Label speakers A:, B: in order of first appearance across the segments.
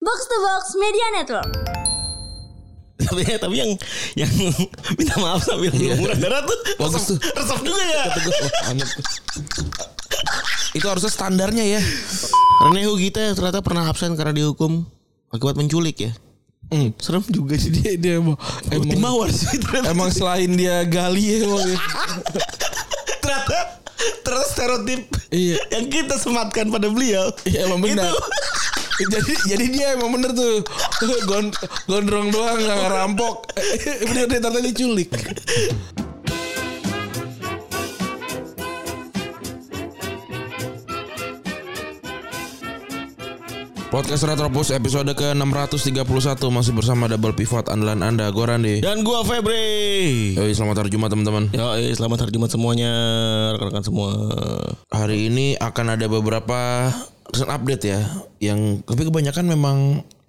A: Box to Box Media Network.
B: tapi ya, tapi yang yang minta maaf sambil ngumuran darah Iya. tuh
C: Bagus
B: resep,
C: tuh.
B: resep juga ya
C: Teguh banget. Itu harusnya standarnya ya.
B: Rene Hugita ternyata pernah absen karena dihukum akibat menculik ya
C: Hmm.
B: serem juga sih
C: Dia dia emang emang,
B: Mawar sih ternyata
C: emang selain dia gali ya emang ya.
B: ternyata ternyata stereotip
C: Iya.
B: yang kita sematkan pada beliau
C: Iya emang benar. jadi jadi dia emang bener tuh Gon- gondrong doang nggak ngerampok. bener dia ternyata diculik. Podcast Retropus episode ke-631 masih bersama double pivot andalan Anda Gorande.
B: dan gua Febri
C: Yoi, selamat hari Jumat teman-teman.
B: ya eh, selamat hari Jumat semuanya rekan-rekan semua
C: Hari ini akan ada beberapa recent update ya yang tapi kebanyakan memang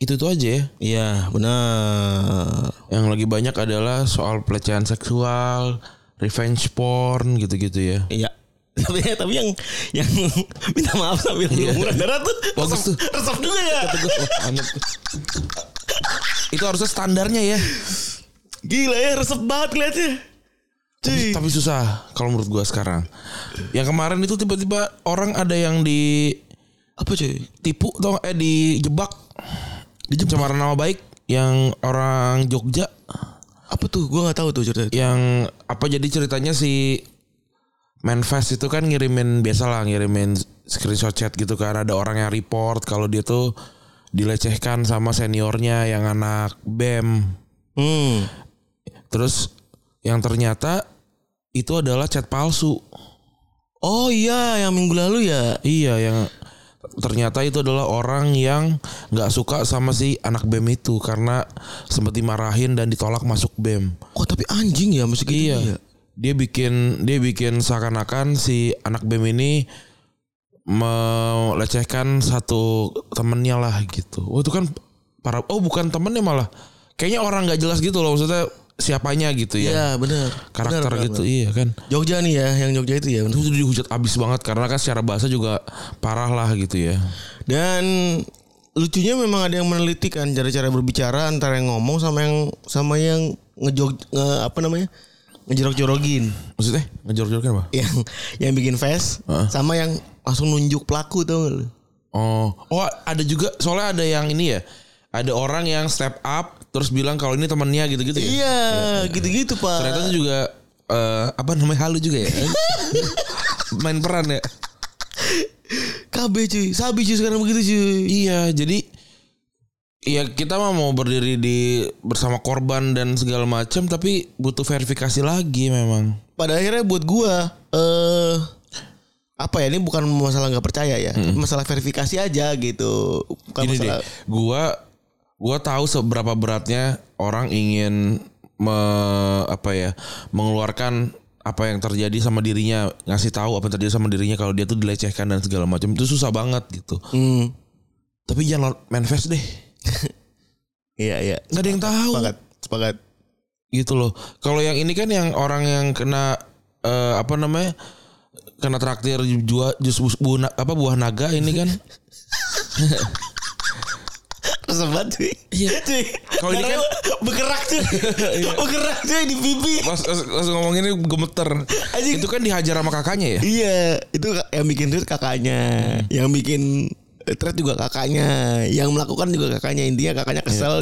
C: itu tuh aja ya.
B: iya benar
C: Yang lagi banyak adalah soal pelecehan seksual, revenge porn gitu-gitu ya.
B: Iya. Tapi tapi yang yang minta maaf sambil ngumuran darah Iya. tuh
C: Bagus
B: resep,
C: tuh.
B: resep juga ya.
C: Itu harusnya standarnya ya.
B: Gila ya resep banget kelihatnya. Cuy.
C: Tapi, tapi susah kalau menurut gua sekarang. Yang kemarin itu tiba-tiba orang ada yang di
B: Apa cuy?
C: tipu atau eh dijebak. Dijebak cemaran nama baik yang orang Jogja
B: Apa tuh? Gua nggak tahu tuh cerita itu.
C: yang apa jadi ceritanya si Manfest itu kan ngirimin biasalah ngirimin screenshot chat gitu kan ada orang yang report kalau dia tuh dilecehkan sama seniornya yang anak BEM.
B: Hmm.
C: Terus yang ternyata itu adalah chat palsu.
B: Oh iya, yang minggu lalu ya.
C: Iya yang ternyata itu adalah orang yang nggak suka sama si anak BEM itu karena sempat dimarahin dan ditolak masuk E BEM.
B: Oh tapi anjing ya mesti gitu
C: Iya. Dia bikin dia bikin seakan-akan si anak BEM ini melecehkan satu temennya lah gitu. Oh itu kan para oh bukan temennya malah kayaknya orang nggak jelas gitu loh maksudnya siapanya gitu
B: Iya
C: ya.
B: benar.
C: Karakter
B: Benar, benar,
C: gitu
B: benar.
C: iya kan.
B: Jogja nih ya, yang Jogja itu ya. benar.
C: Itu dihujat abis banget karena kan secara bahasa juga parah lah gitu ya.
B: Dan lucunya memang ada yang meneliti kan cara-cara berbicara antara yang ngomong sama yang sama yang ngejog nge- apa namanya ngejorok-jorokin.
C: Maksudnya ngejor-jorokin apa?
B: yang yang bikin face sama yang langsung nunjuk pelaku tuh lu.
C: Oh, oh ada juga soalnya ada yang ini ya. Ada orang yang step up terus bilang kalau ini temennya gitu-gitu ya.
B: Iya, gitu-gitu Pak.
C: Ternyata itu juga eh, apa namanya halu juga ya. Main peran ya.
B: KB cuy, sabi cuy sekarang begitu cuy.
C: Iya, jadi ya kita mah mau berdiri di bersama korban dan segala macam tapi butuh verifikasi lagi memang.
B: Pada akhirnya buat gua eh apa ya ini bukan masalah nggak percaya ya, tapi masalah verifikasi aja gitu. Bukan
C: Gini
B: masalah
C: deh, gua gua tahu seberapa beratnya orang ingin me, apa ya mengeluarkan apa yang terjadi sama dirinya ngasih tahu apa yang terjadi sama dirinya kalau dia tuh dilecehkan dan segala macam itu susah banget gitu
B: Hmm,
C: tapi jangan lo- manifest deh
B: iya iya.
C: nggak ada yang tahu
B: Sepakat, sepakat.
C: gitu loh kalau yang ini kan yang orang yang kena eh, apa namanya kena traktir jual jus bus- bu, na- apa buah naga ini kan
B: Tersebat cuy. Iya cuy.
C: Kalau ini kan-
B: bergerak cuy. bergerak cuy di pipi.
C: Mas- mas- langsung ngomongin ini gemeter
B: Anjing.
C: itu kan dihajar sama kakaknya ya
B: Iya, itu ka- yang bikin tweet kakaknya, yang bikin eh, thread juga kakaknya, yang melakukan juga kakaknya. Intinya kakaknya kesel.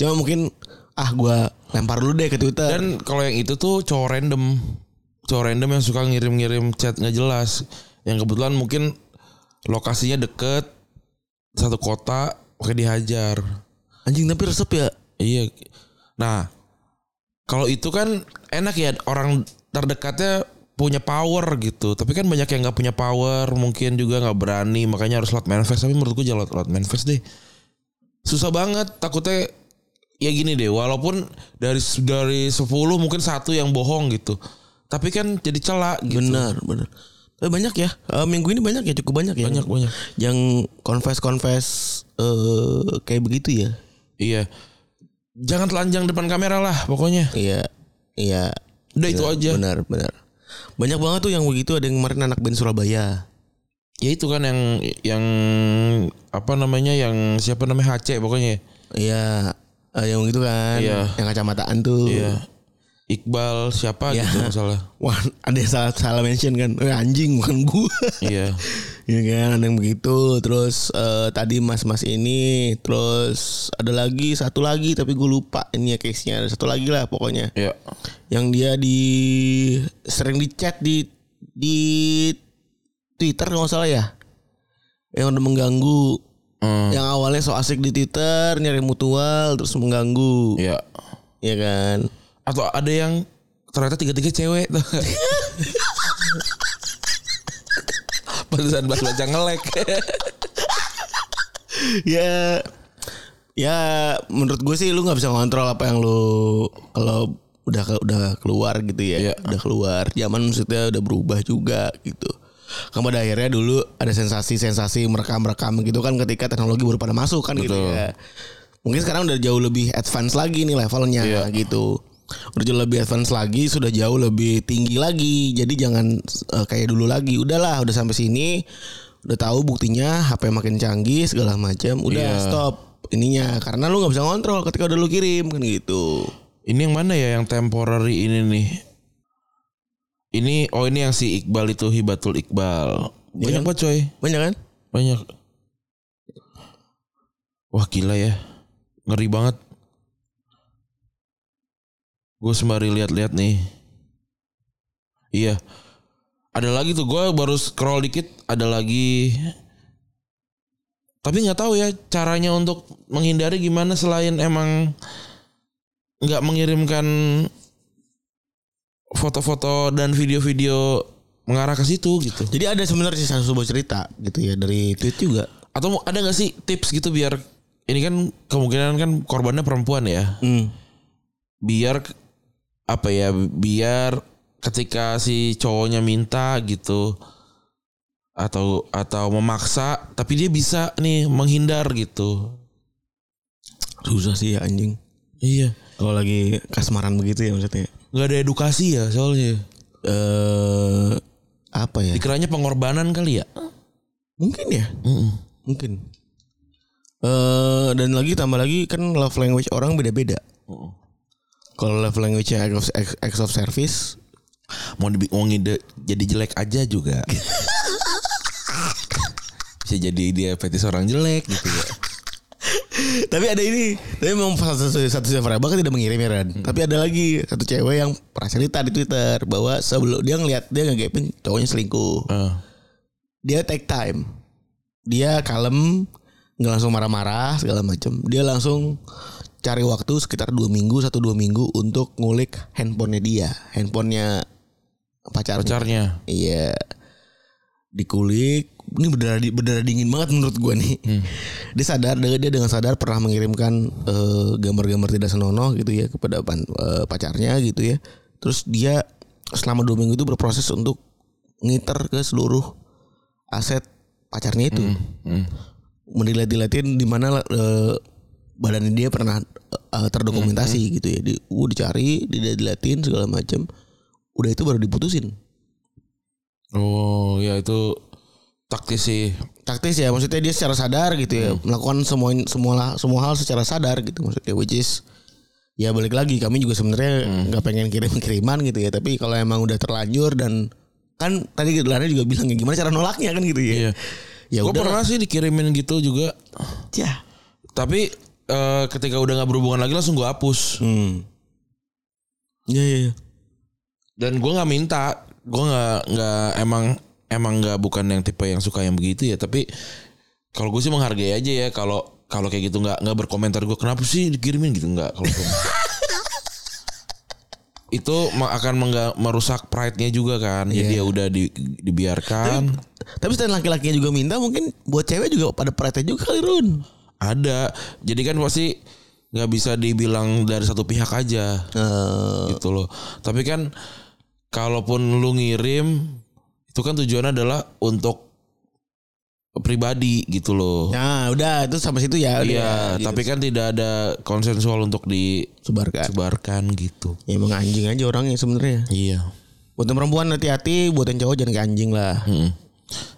B: Cuma mungkin ah gua lempar dulu deh ke Twitter.
C: Dan kalau yang itu tuh cowok random. Cowok random yang suka ngirim-ngirim chat nggak jelas. Yang kebetulan mungkin lokasinya deket satu kota pakai dihajar.
B: anjing tapi resep ya.
C: Iya. Nah, kalau itu kan enak ya orang terdekatnya punya power gitu. Tapi kan banyak yang nggak punya power, mungkin juga nggak berani, makanya harus lot manifest. Tapi menurutku jangan lot, lot manifest deh. Susah banget, takutnya ya gini deh, walaupun dari dari 10 mungkin satu yang bohong gitu. Tapi kan jadi celak gitu.
B: Benar, benar. Tapi banyak ya. Eh, minggu ini banyak ya, cukup banyak ya.
C: Banyak, banyak.
B: Yang confess-confess eh kayak begitu ya.
C: Iya. Jangan telanjang depan kamera lah pokoknya.
B: Iya. Iya.
C: Udah itu aja.
B: Benar, benar. Banyak banget tuh yang begitu ada yang kemarin anak band Surabaya.
C: ya itu kan yang yang apa namanya yang siapa namanya HC pokoknya ya.
B: Iya, eh, yang gitu kan.
C: Iya.
B: Yang kacamataan tuh.
C: Iya. Iqbal siapa
B: Iya.
C: gitu masalah.
B: Wah, ada yang salah salah mention kan. Eh, anjing bukan gua.
C: Iya.
B: Iya kan, ada yang begitu. Terus eh, tadi mas-mas ini, terus ada lagi satu lagi tapi gue lupa ini ya case-nya. Ada satu lagi lah pokoknya.
C: Iya.
B: Yang dia di sering di chat di di Twitter kalau nggak salah ya. Yang udah mengganggu
C: Hmm,
B: yang awalnya so asik di Twitter nyari mutual terus mengganggu.
C: Iya.
B: Iya kan?
C: Atau ada yang ternyata tiga-tiga cewek tuh. Pantesan bas baca ngelek.
B: ya ya menurut gue sih lu nggak bisa ngontrol apa yang lu kalau udah ke- udah keluar gitu ya
C: Iya.
B: udah keluar zaman maksudnya udah berubah juga gitu kan pada akhirnya dulu ada sensasi-sensasi merekam-rekam gitu kan ketika teknologi baru pada masuk kan gitu
C: Betul.
B: ya mungkin sekarang udah jauh lebih advance lagi nih levelnya
C: Iya.
B: gitu udah jauh lebih advance lagi sudah jauh lebih tinggi lagi jadi jangan eh, kayak dulu lagi udahlah udah sampai sini udah tahu buktinya HP makin canggih segala macam udah
C: Iya.
B: stop ininya karena lu nggak bisa ngontrol ketika udah lu kirim kan gitu
C: ini yang mana ya yang temporary ini nih? Ini oh ini yang si Iqbal itu Hibatul Iqbal.
B: Iya.
C: Banyak banget coy.
B: banyak kan
C: Banyak. Wah gila ya. Ngeri banget. Gue sembari lihat-lihat nih. Iya. Ada lagi tuh gue baru scroll dikit ada lagi. Tapi nggak tahu ya caranya untuk menghindari gimana selain emang nggak mengirimkan foto-foto dan video-video mengarah ke situ gitu.
B: jadi ada sebenarnya satu sebuah cerita gitu ya dari tweet juga
C: Atau ada nggak sih tips gitu biar ini kan kemungkinan kan korbannya perempuan ya.
B: hmm.
C: Biar k- apa ya? Biar ketika si cowoknya minta gitu atau atau memaksa tapi dia bisa nih menghindar gitu.
B: susah sih ya anjing
C: Iya.
B: kalau lagi kasmaran begitu ya maksudnya
C: nggak ada edukasi ya soalnya.
B: eh apa ya
C: Dikiranya pengorbanan kali ya.
B: mungkin ya
C: Mm-mm.
B: mungkin eh dan lagi tambah lagi kan love language orang beda-beda kalau love language act of, act- acts of service
C: Mau dibi- mau ngide jadi jelek aja juga. bisa jadi dia fetis orang jelek gitu ya.
B: tapi ada ini tapi memang satu satu variabel kan tidak mengirim ya Ran. tapi ada lagi satu cewek yang pernah cerita di twitter bahwa sebelum dia ngelihat dia ngegapin cowoknya selingkuh
C: Ah.
B: dia take time dia kalem nggak langsung marah-marah segala macam dia langsung cari waktu sekitar dua minggu satu dua minggu untuk ngulik handphonenya dia handphonenya pacarnya
C: pacarnya.
B: Iya. Dikulik. Ini berdarah, di- berdarah dingin banget menurut gua nih. Dia sadar dia dia dengan sadar pernah mengirimkan eh, gambar-gambar tidak senonoh gitu ya kepada pan- eh, pacarnya gitu ya. Terus dia selama dua minggu itu berproses untuk ngiter ke seluruh aset pacarnya itu.
C: Hmm.
B: Mendilat-dilatin di mana eh, badannya dia pernah eh, eh, terdokumentasi gitu ya. Di, uh, dicari, dilatin segala macam. Udah itu baru diputusin.
C: Oh ya itu taktis sih.
B: taktis ya maksudnya dia secara sadar gitu ya
C: Hmm.
B: melakukan semua semua semua hal secara sadar gitu maksudnya which is ya balik lagi kami juga sebenarnya
C: Hmm.
B: nggak pengen kirim kiriman gitu ya tapi kalau emang udah terlanjur dan kan tadi Lana juga bilang ya gimana cara nolaknya kan gitu ya
C: Iya.
B: ya
C: Gue
B: udah
C: pernah sih dikirimin gitu juga.
B: aja
C: Tapi eh, ketika udah nggak berhubungan lagi langsung gue hapus.
B: hmm. ya ya ya.
C: Dan gue nggak minta. Gue nggak nggak emang emang nggak bukan yang tipe yang suka yang begitu ya. Tapi kalau gue sih menghargai aja ya. Kalau kalau kayak gitu nggak nggak berkomentar gue kenapa sih dikirimin gitu nggak kalau gue. itu me- akan mengga- merusak pride-nya juga kan. Jadi ya udah di- dibiarkan.
B: Iya. tapi selain laki-lakinya juga minta mungkin buat cewek juga pada perhatian juga kali Run
C: Ada. Jadi kan pasti nggak bisa dibilang dari satu pihak aja
B: Eh,
C: gitu loh. Tapi kan kalaupun lu ngirim itu kan tujuannya adalah untuk pribadi gitu loh.
B: nah udah itu sampai situ ya udah,
C: Iya,
B: gitu.
C: tapi kan tidak ada konsensual untuk
B: sebarkan
C: disebarkan gitu.
B: ya emang anjing aja orangnya sebenarnya
C: Iya.
B: Buat yang perempuan hati-hati, buat yang cowok jangan kayak anjing lah.
C: Mm-mm.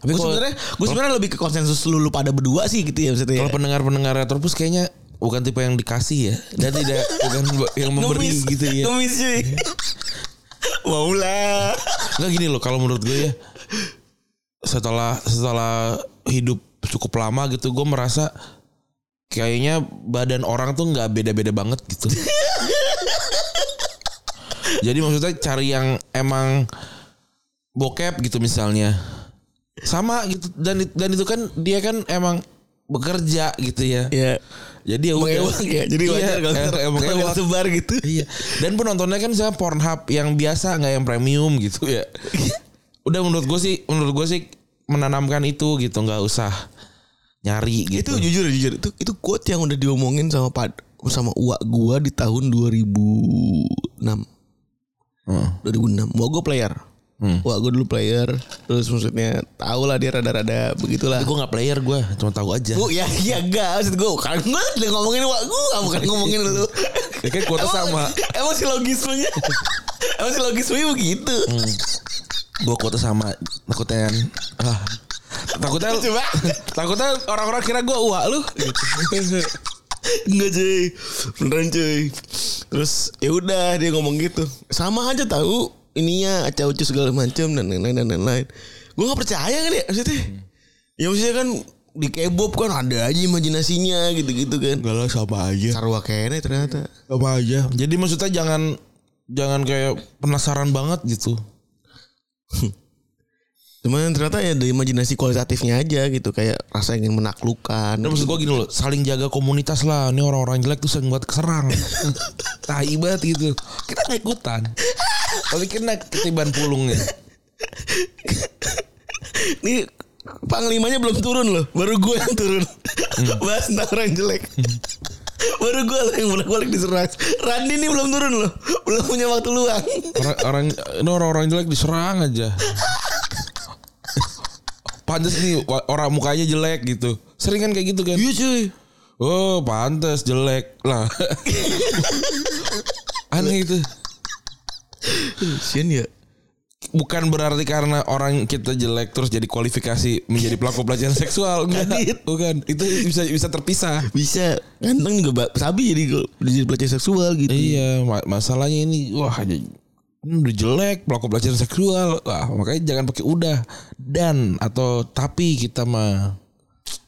C: Tapi
B: Gue Hmm.
C: kalau-
B: sebenarnya gue sebenarnya lebih ke konsensus lu, lu pada berdua sih gitu ya maksudnya.
C: Kalau pendengar-pendengar Retropus kayaknya bukan tipe yang dikasih ya dan tidak bukan yang memberi
B: Ngemis.
C: gitu ya.
B: Ngemis cuy. Mau lah.
C: Enggak gini loh kalau menurut gue ya setelah setelah hidup cukup lama gitu gue merasa kayaknya badan orang tuh nggak beda-beda banget gitu. Jadi maksudnya cari yang emang bokep gitu misalnya sama gitu dan dan itu kan dia kan emang bekerja gitu ya.
B: Ya.
C: Jadi ya udah.
B: Mengewang ya. Jadi
C: Iya,
B: wajar kalau
C: em-
B: ter-
C: emang
B: kalau
C: ewang.
B: tersebar gitu.
C: Iya. Dan penontonnya kan misalnya Pornhub yang biasa nggak yang premium gitu ya. Udah menurut gue sih, menurut gue sih menanamkan itu gitu nggak usah nyari
B: Iya, Itu
C: gitu.
B: jujur jujur itu itu quote yang udah diomongin sama pad sama uak gua di tahun 2006.
C: Heeh.
B: 2006. Wah gue player. Wah gue dulu player. Terus maksudnya tau lah dia rada-rada begitulah.
C: Gue nggak player gue, cuma tahu aja.
B: Gue ya ya enggak maksud gue kan gue udah ngomongin wah gue bukan ngomongin lu.
C: Ya kan kuota
B: Emang-
C: sama.
B: Emang si logismenya. emang si logismenya begitu.
C: Gue Hmm. kuota sama takutnya ah. Takutnya
B: Lucu banget.
C: takutnya orang-orang kira gue uak lu. Gitu.
B: Enggak cuy. Beneran cuy. Terus ya udah dia ngomong gitu. Sama aja tahu ininya acau ucu segala macam dan lain-lain dan lain-lain. Gue gak percaya kan ya maksudnya. Ya maksudnya kan di K-pop kan ada aja imajinasinya gitu-gitu kan.
C: Enggak lah sama aja.
B: Sarwa kene ternyata.
C: Sama aja. Jadi maksudnya jangan jangan kayak penasaran banget gitu.
B: Cuman ternyata ya dari imajinasi kualitatifnya aja gitu kayak rasa ingin menaklukkan.
C: Dan Nah, maksud gue gini loh, saling jaga komunitas lah. Ini orang-orang jelek tuh sering buat keserang. Tai banget gitu. Kita gak ikutan. Tapi kena ketiban pulungnya.
B: Ini panglimanya belum turun loh, baru gue yang turun. Bahas tentang orang jelek. baru gue lah yang bolak-balik diserang. Randi ini belum turun loh, belum punya waktu luang.
C: Orang, orang ini orang-orang jelek diserang aja. Pantes nih wa- orang mukanya jelek gitu. Sering kan kayak gitu kan.
B: Iya cuy.
C: Oh, pantes jelek lah. Aneh itu.
B: Sian ya.
C: Bukan berarti karena orang kita jelek terus jadi kualifikasi menjadi pelaku pelecehan seksual. Enggak. Bukan. Itu bisa bisa terpisah.
B: Bisa ganteng juga ba- sabi jadi gua- jadi pelecehan seksual gitu.
C: Iya, ma- masalahnya ini wah ini udah jelek pelaku pelecehan seksual. Wah, makanya jangan pakai udah dan atau tapi kita mah.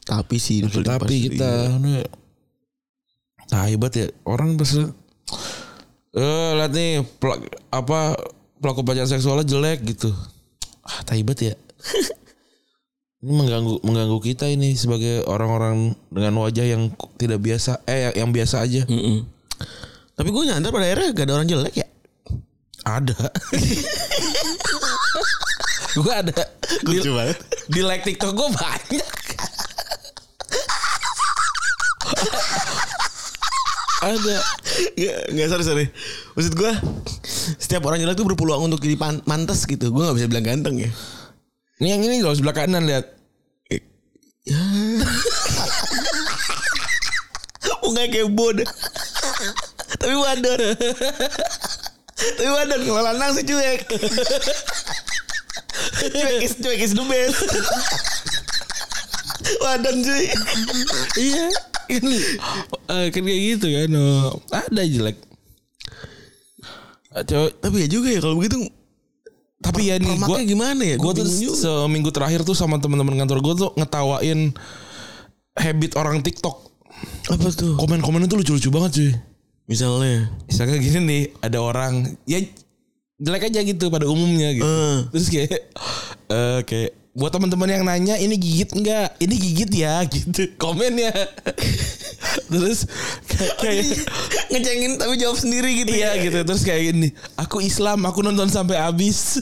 B: Tapi sih Iya. udah
C: tapi
B: pasti.
C: kita anu ini nah, hebat ya orang pasti eh lihat nih pelak, apa pelaku pelecehan seksualnya jelek gitu. Ah, taibat ya. ini mengganggu mengganggu kita ini sebagai orang-orang dengan wajah yang tidak biasa eh yang biasa aja.
B: Mm-mm. Tapi gue nyadar pada akhirnya gak ada orang jelek ya.
C: Ada. gue ada. Di,
B: banget.
C: di like TikTok gue banyak. ada.
B: Nggak, Iya, nggak sorry sorry. Maksud gue setiap orang jelek tuh berpeluang untuk jadi pan- pantas gitu. Gue nggak bisa bilang ganteng ya.
C: Ini yang ini loh sebelah kanan lihat.
B: Mukanya kayak bodoh. Tapi wadon. Tapi wadon kalau lanang sih cuek. cuek is cuek is the best. wadon cuy.
C: iya. Ini Eh, kan kayak gitu kan. oh. Ada jelek. Eh, Coba,
B: Tapi ya juga ya kalau begitu
C: tapi ya nih
B: permaknya
C: gue
B: gimana ya?
C: gue
B: Gua
C: tuh
B: bingung juga.
C: seminggu terakhir tuh sama teman-teman kantor gue tuh ngetawain habit orang TikTok
B: apa tuh?
C: komen-komennya tuh lucu-lucu banget cuy.
B: Misalnya
C: Misalnya gini nih, ada orang ya jelek aja gitu pada umumnya gitu.
B: Eh.
C: Terus kayak eh kayak buat teman-teman yang nanya ini gigit enggak? Ini gigit ya gitu. Komen ya. Terus kayak, kayak
B: ngecengin tapi jawab sendiri gitu
C: iya gitu. Terus kayak gini, aku Islam, aku nonton sampai habis.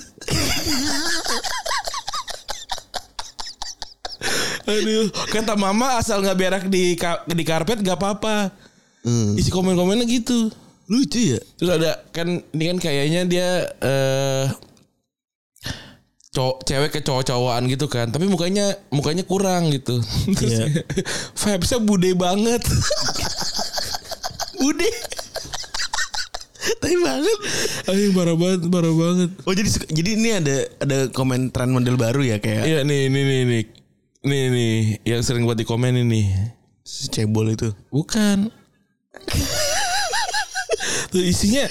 C: Aduh, kata mama asal nggak berak di ka- di karpet gak apa-apa. Isi komen-komennya gitu.
B: Lucu ya?
C: Terus ada kan ini kan kayaknya dia eh cowok cewek ke cowok-cowokan gitu kan, tapi mukanya mukanya kurang gitu. Terus
B: Iya.
C: vibes-nya bude banget.
B: Bude. Tai banget.
C: Ayo parah banget, parah banget.
B: Oh jadi suka- jadi ini ada ada komen tren model baru ya kayak
C: Iya nih, nih, nih, nih. Nih, nih. Yang sering buat di komen ini.
B: si cebol itu.
C: Bukan. Tuh isinya,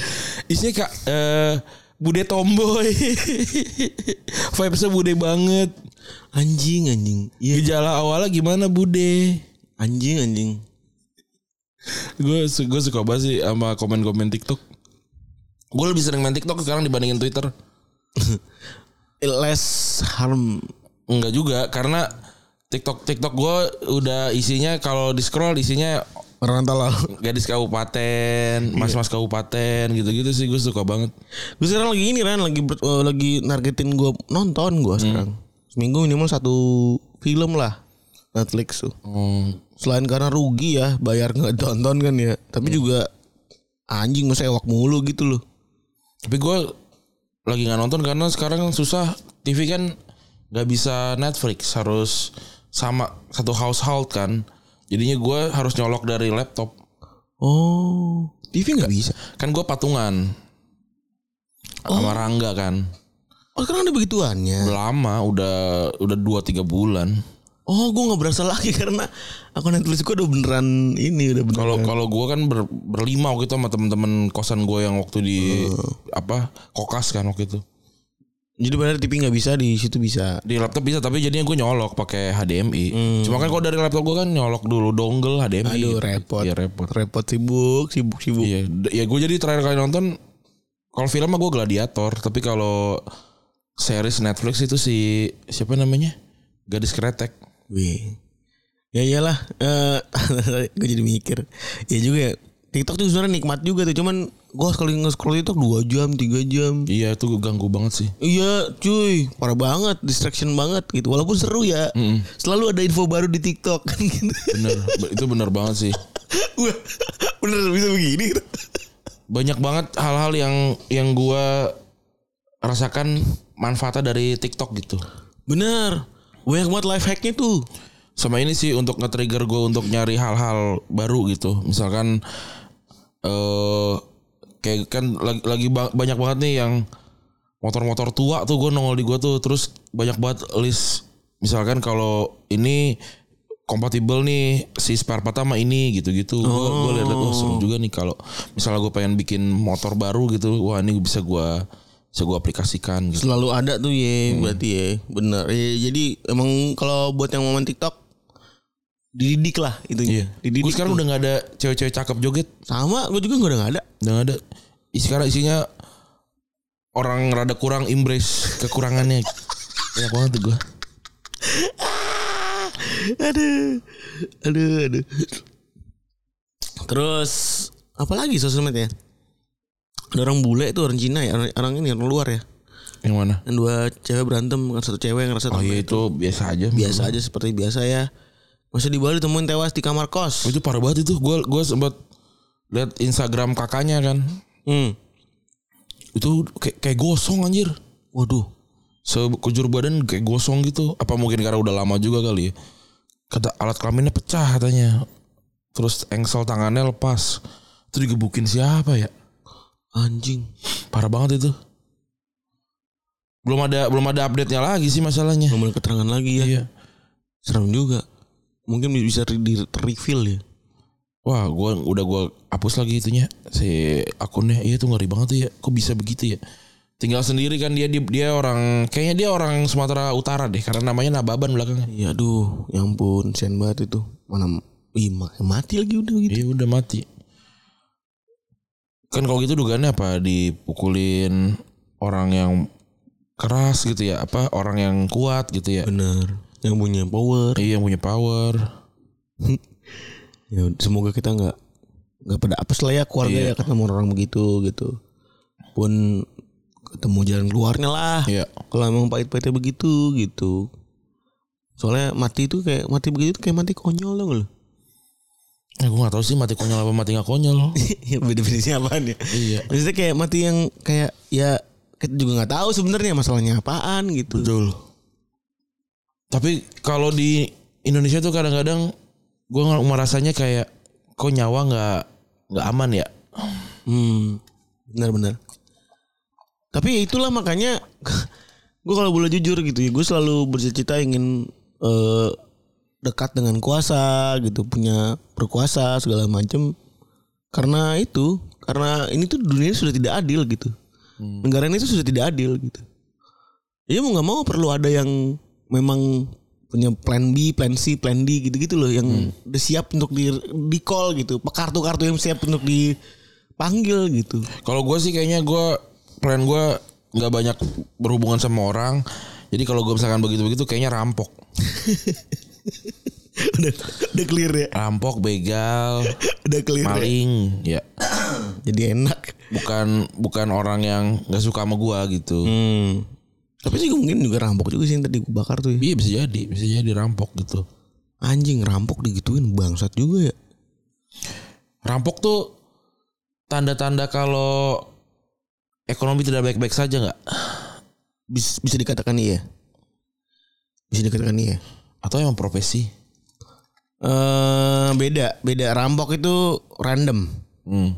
C: isinya kak, eh bude tomboy. Vibesnya bude banget.
B: Anjing anjing. Iya
C: Gejala awalnya gimana bude?
B: anjing anjing.
C: Gue su- gue suka banget sih sama komen-komen TikTok. Gue lebih sering main TikTok sekarang dibandingin Twitter.
B: Less harm.
C: Enggak juga karena TikTok TikTok gue udah isinya kalau di scroll isinya
B: Orang tolol.
C: gadis kabupaten, mas-mas kabupaten gitu-gitu sih gue suka banget.
B: Gue sekarang lagi ini Ran lagi ber- eh, lagi nargetin gue nonton gue sekarang. Seminggu minimal satu film lah Netflix tuh.
C: Hmm,
B: Selain karena rugi ya bayar nggak tonton kan ya, tapi juga anjing masa ewak mulu gitu loh.
C: Tapi gue lagi nggak nonton karena sekarang susah TV kan nggak bisa Netflix harus sama satu household kan. Jadinya gue harus nyolok dari laptop.
B: Oh, TV nggak bisa.
C: Kan gue patungan sama Rangga kan.
B: Oh, sekarang ada begituannya.
C: Udah lama udah udah 2 3 bulan.
B: Oh, gue nggak berasa lagi karena akun Netflix gue udah beneran ini udah beneran.
C: Kalau kalau gue kan ber- berlima waktu itu sama temen-temen kosan gue yang waktu di apa kokas kan waktu itu
B: Jadi benar TV nggak bisa di situ bisa.
C: di laptop bisa tapi jadinya gue nyolok pakai HDMI. Cuma kan kalau dari laptop gue kan nyolok dulu dongle HDMI.
B: Hmm. Aduh repot.
C: Iya repot.
B: Repot sibuk, sibuk, sibuk.
C: Iya, D- ya gue jadi terakhir kali nonton kalau film mah gue gladiator, tapi kalau series Netflix itu si siapa namanya? Gadis Kretek.
B: Wih. Ya iyalah, eh gue jadi mikir. Ya juga ya. TikTok tuh sebenarnya nikmat juga tuh, cuman gue sekali nge-scroll TikTok 2 jam, 3 jam.
C: Iya, itu ganggu banget sih.
B: Iya, cuy, parah banget, distraction banget gitu. Walaupun seru ya, selalu ada info baru di TikTok kan gitu.
C: Bener, be- itu bener banget sih.
B: Wah, Bener bisa begini. gitu.
C: Banyak banget hal-hal yang yang gue rasakan manfaatnya dari TikTok gitu.
B: Bener, banyak banget life hacknya tuh.
C: Sama ini sih untuk nge-trigger gue untuk nyari hal-hal baru gitu. Misalkan eh kayak kan lagi, lagi ba- banyak banget nih yang motor-motor tua tuh gue nongol di gue tuh terus banyak banget list misalkan kalau ini kompatibel nih si spare part sama ini gitu-gitu gue gue liat liat oh seru juga nih kalau misalnya gue pengen bikin motor baru gitu wah ini bisa gue bisa gue aplikasikan gitu
B: Selalu ada tuh ya,
C: Hmm.
B: berarti ya, bener. Ya, jadi emang kalau buat yang mau main TikTok, dididik lah itunya. Dididik.
C: gue Iya. sekarang udah nggak ada cewek-cewek cakep joget
B: Sama, gue juga gak udah gak ada.
C: udah nggak ada Isi- sekarang isinya orang rada kurang embrace kekurangannya banyak banget tuh gue
B: aduh, aduh, aduh. Terus apa lagi sosmed ya? Ada orang bule itu orang Cina ya, orang, orang ini orang luar ya.
C: yang mana
B: Yang dua cewek berantem, kan satu cewek ngerasa
C: Oh
B: tambah.
C: iya itu biasa aja.
B: biasa aja seperti biasa ya. Masa di Bali temuin tewas di kamar
C: Oh,
B: kos.
C: Itu parah banget itu. Gue gua sempat lihat Instagram kakaknya kan.
B: Hmm.
C: Itu kayak kayak gosong anjir.
B: Waduh.
C: Sekujur badan kayak gosong gitu. Apa mungkin karena udah lama juga kali ya. Kata alat kelaminnya pecah katanya. Terus engsel tangannya lepas. Itu digebukin siapa ya?
B: Anjing.
C: Parah banget itu. Belum ada belum ada update-nya lagi sih masalahnya.
B: Nomor keterangan lagi ya.
C: Iya.
B: Serem juga. Mungkin bisa di di- reveal ya.
C: Wah, gua udah gua hapus lagi itunya si akunnya. Iya tuh ngeri banget tuh ya. Kok bisa begitu ya? Tinggal sendiri kan dia dia, dia orang kayaknya dia orang Sumatera Utara deh karena namanya Nababan belakangnya.
B: Ya aduh, ya ampun, sian banget itu. Mana Ih, ma- mati lagi udah gitu.
C: Dia Iya, udah mati. Kan kalau gitu dugaannya apa dipukulin orang yang keras gitu ya, apa orang yang kuat gitu ya.
B: Bener. Yang punya power.
C: Iya yang punya power.
B: ya semoga kita nggak nggak pada apes lah ya keluarga
C: Iya.
B: ya ketemu orang begitu gitu pun ketemu jalan keluarnya lah
C: Iya.
B: kalau emang pahit-pahitnya begitu gitu soalnya mati itu kayak mati begitu tuh kayak mati konyol dong lo
C: Ya, gue gak tahu sih mati konyol apa mati gak konyol.
B: ya definisinya apaan ya
C: iya.
B: maksudnya kayak mati yang kayak ya kita juga nggak tahu sebenarnya masalahnya apaan gitu
C: Betul. Tapi kalau di Indonesia tuh kadang-kadang gue merasanya kayak kok nyawa nggak nggak aman ya.
B: hmm Benar-benar. Tapi ya itulah makanya gue kalau boleh jujur gitu ya, gue selalu bercita-cita ingin eh, dekat dengan kuasa gitu, punya berkuasa segala macem. Karena itu, karena ini tuh dunia ini sudah tidak adil gitu.
C: Hmm.
B: Negara ini tuh sudah tidak adil gitu. Ya mau nggak mau perlu ada yang memang punya plan B, plan C, plan D gitu-gitu loh yang udah siap untuk di, di call gitu. Kartu-kartu yang siap untuk dipanggil gitu.
C: Kalau gue sih kayaknya gue plan gue nggak banyak berhubungan sama orang. Jadi kalau gue misalkan begitu-begitu kayaknya rampok.
B: udah udah clear ya
C: Rampok, begal,
B: udah clear ya
C: maling, ya.
B: jadi enak
C: Bukan bukan orang yang nggak suka sama gua gitu.
B: Hmm. tapi sih mungkin juga rampok juga sih yang tadi gue bakar tuh ya.
C: Iya bisa jadi, bisa jadi rampok gitu.
B: anjing rampok digituin bangsat juga ya
C: Rampok tuh tanda-tanda kalau ekonomi tidak baik-baik saja nggak?
B: bisa, bisa dikatakan iya bisa dikatakan iya
C: Atau emang profesi?
B: eh beda beda rampok itu random
C: Hmm.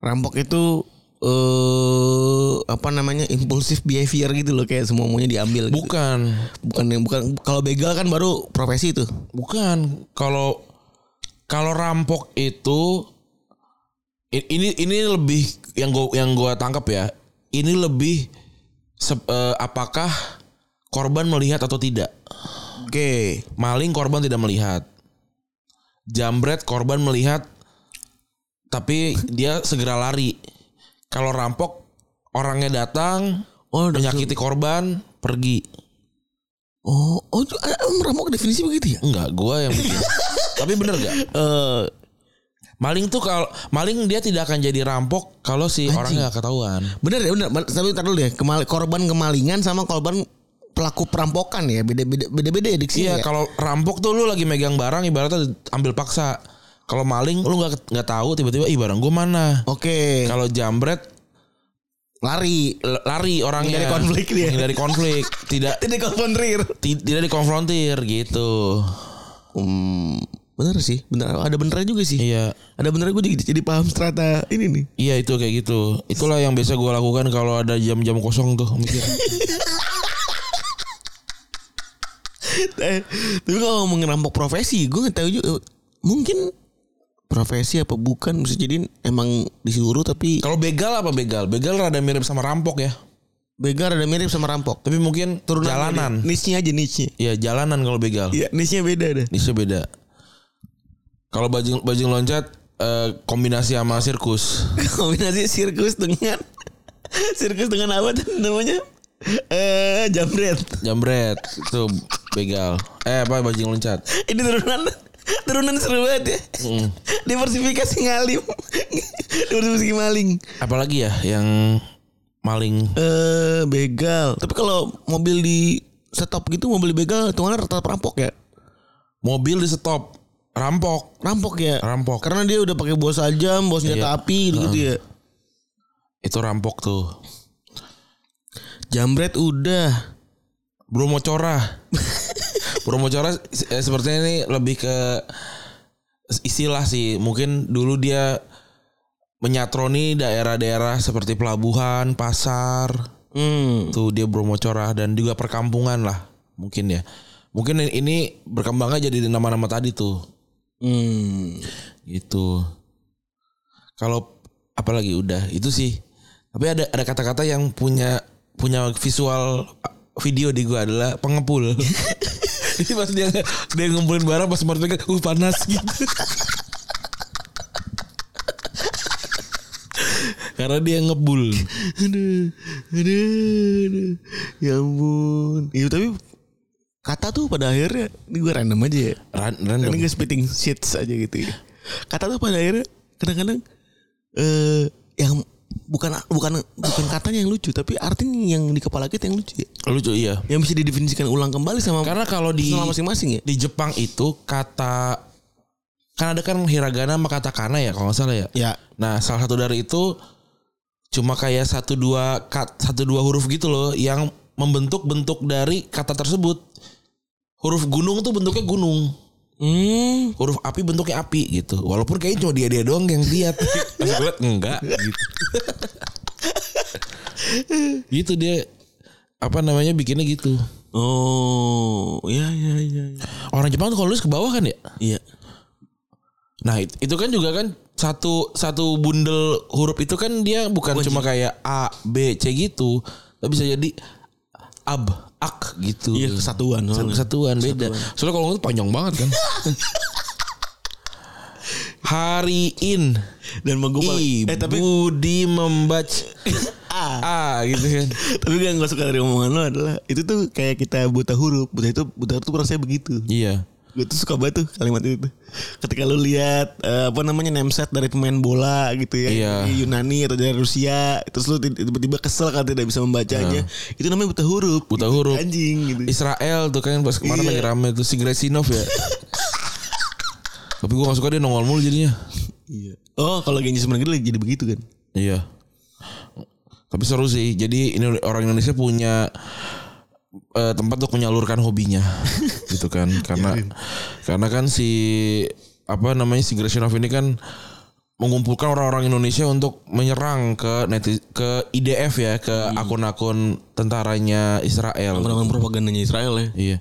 B: rampok itu eh apa namanya impulsif behavior gitu loh kayak semua maunya diambil gitu.
C: Bukan,
B: bukan yang bukan kalau begal kan baru profesi itu
C: bukan. Kalau kalau rampok itu i- ini ini lebih yang gua yang gua tangkap ya. Ini lebih sep- eh, apakah korban melihat atau tidak?
B: oke
C: Maling korban tidak melihat. Jambret korban melihat tapi dia segera lari. Kalau rampok orangnya datang
B: oh udah-
C: menyakiti korban pergi.
B: oh oh itu- ah, rampok definisi begitu ya
C: Enggak, gua yang bikin. tapi bener gak?
B: eh
C: Maling tuh kalau maling dia tidak akan jadi rampok kalau si orangnya nggak ketahuan.
B: Bener ya bener. Tapi ntar dulu deh. Kemal- korban kemalingan sama korban pelaku perampokan ya. Beda beda beda beda ya diksi.
C: Iya,
B: ya?
C: kalau rampok tuh lu lagi megang barang ibaratnya ambil paksa. Kalau maling lu nggak nggak tahu tiba-tiba ih barang gua mana.
B: Oke.
C: Kalau jambret
B: Lari.
C: l- lari orangnya
B: Menghindari konflik dia.
C: Menghindari konflik, tidak
B: Tidak konfrontir.
C: ti- tidak dikonfrontir gitu.
B: Hmm, bener sih. Bener. Ada benernya juga sih.
C: Iya.
B: Ada benernya gue jadi, jadi paham strata ini nih.
C: Iya itu kayak gitu. Itulah yang biasa gua lakukan kalau ada jam-jam kosong tuh mikir.
B: Eh, Tapi kalau ngomongin rampok profesi, gue nggak tahu juga. Mungkin profesi apa bukan bisa jadi emang disuruh tapi
C: Kalau begal apa begal? Begal rada mirip sama rampok ya.
B: begar ada mirip sama rampok.
C: Tapi mungkin jalanan.
B: Nisnya aja nisnya.
C: Iya, jalanan kalau begal.
B: Iya, nisnya beda dah.
C: Nisnya beda. Kalau bajing bajing loncat eh, kombinasi sama sirkus.
B: kombinasi sirkus dengan sirkus dengan apa tuh namanya eh jambret
C: Jambret itu begal. Eh apa bajing loncat? Mm.
B: ini turunan turunan seru banget ya diversifikasi ngalim diversifikasi maling
C: Apalagi ya yang maling
B: eh begal tapi kalau mobil di stop gitu mobil begal hitungannya rata perampok ya
C: mobil di stop rampok
B: rampok ya
C: Rampok.
B: karena dia udah pakai bawa sajam bawa senjata
C: Iya.
B: api gitu, ya
C: itu rampok tuh
B: jambret udah
C: Bromo Cora Bromo Cora eh, sepertinya ini lebih ke istilah sih mungkin dulu dia menyatroni daerah-daerah seperti pelabuhan pasar
B: hmm
C: tuh dia Bromo Cora dan juga perkampungan lah mungkin ya mungkin ini berkembangnya jadi nama-nama tadi tuh
B: hmm
C: gitu kalau apalagi udah itu sih tapi ada ada kata-kata yang punya punya visual video di gua adalah pengepul jadi pas dia dia ngumpulin barang pas mereka pegang, uh panas gitu karena dia ngebul
B: aduh, aduh, aduh. Ya ampun. Iya tapi kata tuh pada akhirnya ini gue random aja ya.
C: Ran-
B: Ini
C: random
B: gue spitting shits aja gitu. ya. Kata tuh pada akhirnya kadang-kadang eh yang bukan bukan bukan katanya yang lucu tapi artinya yang di kepala kita yang lucu ya.
C: lucu iya
B: Yang bisa didefinisikan ulang kembali sama
C: karena kalau di
B: sama masing-masing ya.
C: di Jepang itu kata kan ada kan hiragana sama katakana ya kalau nggak salah ya
B: Ya.
C: Nah, salah satu dari itu cuma kayak satu dua kat satu dua huruf gitu loh yang membentuk bentuk dari kata tersebut. Huruf gunung tuh bentuknya gunung.
B: Hmm.
C: huruf api bentuknya api gitu walaupun kayaknya cuma dia dia doang yang lihat pas gue liat, enggak gitu gitu dia apa namanya bikinnya gitu
B: Oh, ya ya ya. ya.
C: orang Jepang tuh kalau nulis ke bawah kan ya
B: Iya.
C: nah it- itu kan juga kan satu satu bundel huruf itu kan dia bukan cuma kayak a b c gitu tapi bisa jadi ab ak gitu
B: Iya kesatuan.
C: Satu
B: soalnya.
C: kesatuan beda. Soalnya kalau itu panjang banget kan. Hariin
B: Dan mau gue
C: I
B: Eh tapi
C: Budi membac
B: ah,
C: A gitu kan.
B: tapi yang gue suka dari omongan lo adalah itu tuh kayak kita buta huruf. Buta itu buta huruf tuh rasanya begitu.
C: Iya.
B: Gue tuh suka banget tuh kalimat itu. tuh. Ketika lu lihat eh, apa namanya name set dari pemain bola gitu ya,
C: Iya.
B: dari Yunani atau dari Rusia, terus lu ti- tiba-tiba kesel kan tidak bisa membacanya. Itu namanya Iya. buta huruf.
C: Buta
B: gitu.
C: huruf.
B: Anjing gitu.
C: Israel tuh kan pas kemarin
B: Iya.
C: lagi rame tuh si Gresinov ya. Tapi gue gak suka dia nongol mulu jadinya.
B: Iya. Oh, kalau Genji Sumanegara lagi jadi begitu kan.
C: Iya. Tapi seru sih. Jadi ini orang Indonesia punya eh, tempat untuk menyalurkan hobinya, gitu kan? Karena karena kan si apa namanya si Greshinov ini kan mengumpulkan orang-orang Indonesia untuk menyerang ke neti- ke IDF ya, ke akun-akun tentaranya Israel. Gitu.
B: Orang-orang propagandanya Israel ya.
C: Iya.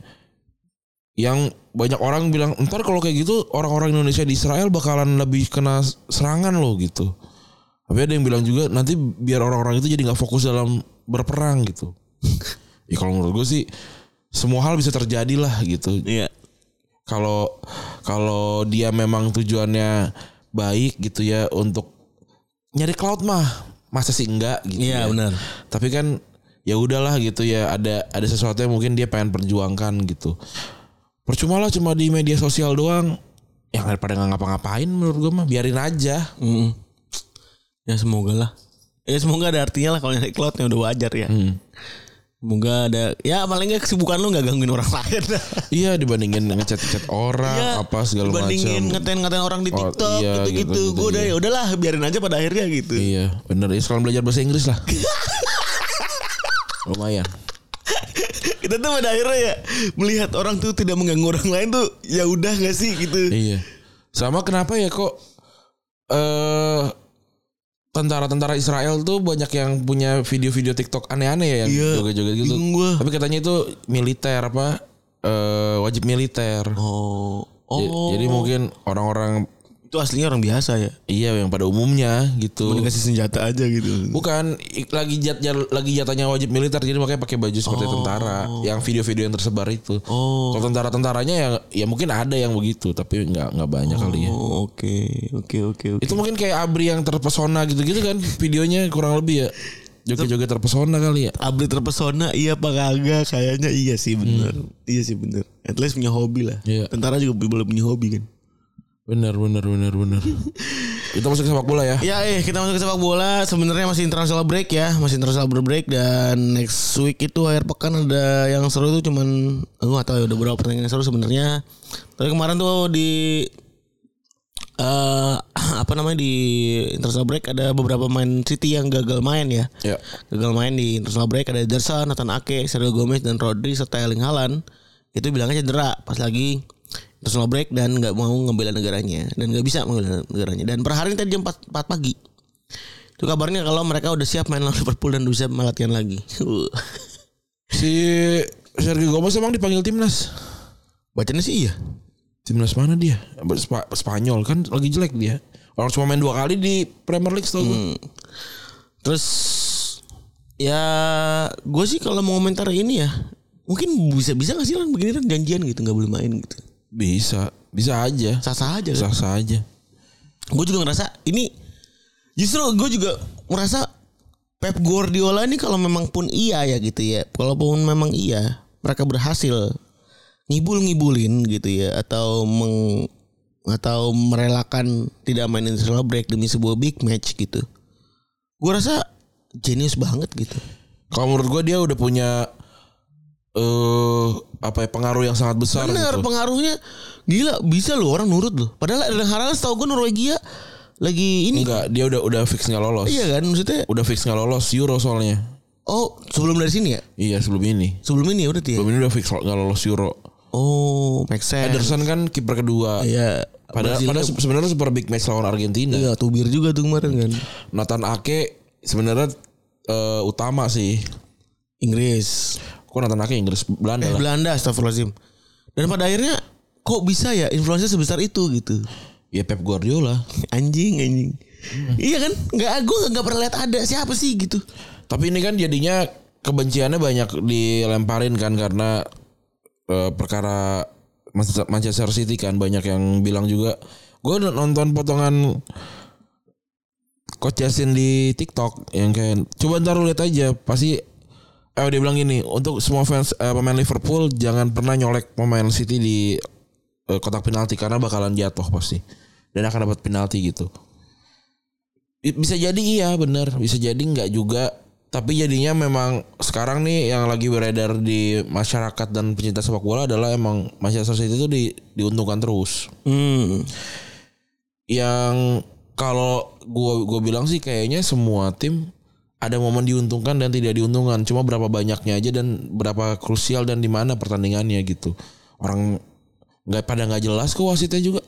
C: Yang banyak orang bilang ntar kalau kayak gitu orang-orang Indonesia di Israel bakalan lebih kena serangan loh gitu. Tapi ada yang bilang juga nanti biar orang-orang itu jadi nggak fokus dalam berperang gitu. ya kalau menurut gue sih semua hal bisa terjadi lah gitu.
B: Iya.
C: Kalau kalau dia memang tujuannya baik gitu ya untuk nyari cloud mah masa sih enggak gitu.
B: Iya,
C: ya
B: benar.
C: tapi kan ya udahlah gitu ya ada ada sesuatu yang mungkin dia pengen perjuangkan gitu percuma lah cuma di media sosial doang yang daripada nggak ngapa-ngapain menurut gue mah biarin aja
B: Mm. Ya semoga lah. Ya semoga ada artinya lah kalau nyari cloudnya udah wajar ya. Semoga ada ya paling nggak kesibukan lu nggak gangguin orang lain.
C: iya dibandingin ngechat-chat orang
B: ya,
C: apa segala macam
B: Bandingin ngatain-ngatain orang di
C: Oh,
B: TikTok
C: iya,
B: gitu-gitu.
C: gitu-gitu,
B: Gue udah
C: iya.
B: ya udahlah biarin aja pada akhirnya gitu.
C: iya bener ya sekarang belajar bahasa Inggris lah lumayan
B: Kita tuh pada akhirnya ya melihat orang tuh tidak mengganggu orang lain tuh ya udah nggak sih gitu.
C: iya sama kenapa ya kok eh tentara-tentara Israel tuh banyak yang punya video-video TikTok aneh-aneh ya yang
B: Iya,
C: joget-joget gitu
B: bingung gua.
C: Tapi katanya itu militer apa eh wajib militer.
B: Oh,
C: Ja-
B: oh.
C: Iya, Jadi mungkin orang-orang
B: itu aslinya orang biasa ya.
C: iya yang pada umumnya gitu.
B: Cuma dikasih senjata aja gitu.
C: Bukan i- lagi jat jat- lagi jatahnya wajib militer jadi makanya pakai baju seperti tentara yang video-video yang tersebar itu.
B: Oh.
C: Kalau tentara-tentaranya ya ya mungkin ada yang begitu tapi nggak nggak banyak kali ya.
B: Oh, oke, oke, oke, oke.
C: Itu mungkin kayak Abri yang terpesona gitu-gitu kan videonya kurang lebih ya. Joget-joget terpesona kali ya.
B: Abri terpesona iya apa kagak kayaknya iya sih bener iya sih bener at least punya hobi lah
C: Hmm. Iya.
B: tentara juga boleh punya hobi kan
C: Benar benar benar benar. Kita masuk ke sepak bola ya.
B: ya eh kita masuk ke sepak bola sebenarnya masih international break ya masih international break dan next week itu akhir pekan ada yang seru tuh cuman aku nggak tahu ya udah berapa pertandingan yang seru sebenarnya tapi kemarin tuh di eh apa namanya di international break ada beberapa main City yang gagal main ya
C: Ya.
B: Gagal main di international break ada Ederson, Nathan Ake, Sergio Gomez dan Rodri serta Erling Haaland itu bilangnya cedera pas lagi international break dan nggak mau ngebela negaranya dan nggak bisa ngebela negaranya dan per hari ini tadi jam 4, 4 pagi itu kabarnya kalau mereka udah siap main lawan Liverpool dan udah siap melatihan lagi
C: Si Sergio Gomez emang dipanggil timnas.
B: bacanya sih iya
C: Timnas mana dia? Spa- Spanyol kan lagi jelek dia. Orang cuma main dua kali di Premier League setahu
B: Hmm.
C: gue.
B: terus ya gue sih kalau mau komentar ini ya mungkin bisa bisa nggak sih lan begini kan janjian gitu nggak boleh main gitu
C: Bisa, bisa aja.
B: sah sah aja kan?
C: Sah sah aja.
B: gue juga ngerasa ini justru gue juga merasa Pep Guardiola ini kalau memang pun iya ya gitu ya kalaupun memang iya mereka berhasil ngibul ngibulin gitu ya atau meng atau merelakan tidak main international break demi sebuah big match gitu gue rasa jenius banget gitu
C: Kalau menurut gue dia udah punya eh apa ya pengaruh yang sangat besar
B: bener
C: gitu.
B: pengaruhnya gila bisa loh orang nurut loh padahal ada hal setahu gue Norwegia lagi ini
C: Enggak, dia udah udah fix nggak lolos.
B: iya kan maksudnya
C: Udah fix nggak lolos Euro soalnya.
B: oh sebelum dari sini ya
C: Iya sebelum ini.
B: sebelum ini ya berarti ya
C: Sebelum ini udah fix nggak lolos Euro.
B: Oh, make sense.
C: Ederson kan kiper kedua.
B: Iya.
C: Padahal,
B: Brazil-
C: padahal se- sebenarnya super big match lawan Argentina.
B: Iya, Tubir juga tuh kemarin kan.
C: Nathan Ake sebenarnya eh, utama sih.
B: Inggris.
C: Kok Nathan Ake Inggris
B: Eh,
C: Belanda lah.
B: Belanda, astagfirullahaladzim. Dan pada akhirnya kok bisa ya influencer sebesar itu gitu.
C: Ya Pep Guardiola.
B: Anjing, anjing. Iya kan? Nggak, gue nggak pernah lihat ada siapa sih gitu.
C: Tapi ini kan jadinya kebenciannya banyak dilemparin kan karena eh, perkara Manchester- Manchester City kan banyak yang bilang juga gue nonton potongan Coach Justin di TikTok yang kayak coba ntar lu lihat aja pasti eh dia bilang gini untuk semua fans eh, pemain Liverpool jangan pernah nyolek pemain City di eh, kotak penalti karena bakalan jatuh pasti dan akan dapat penalti gitu I- bisa jadi iya bener bisa jadi nggak juga tapi jadinya memang sekarang nih yang lagi beredar di masyarakat dan pecinta sepak bola adalah emang Manchester City itu di, diuntungkan terus
B: Hmm.
C: yang kalau gua gua bilang sih kayaknya semua tim ada momen diuntungkan dan tidak diuntungkan cuma berapa banyaknya aja dan berapa krusial dan di mana pertandingannya gitu orang nggak pada nggak jelas ke wasitnya juga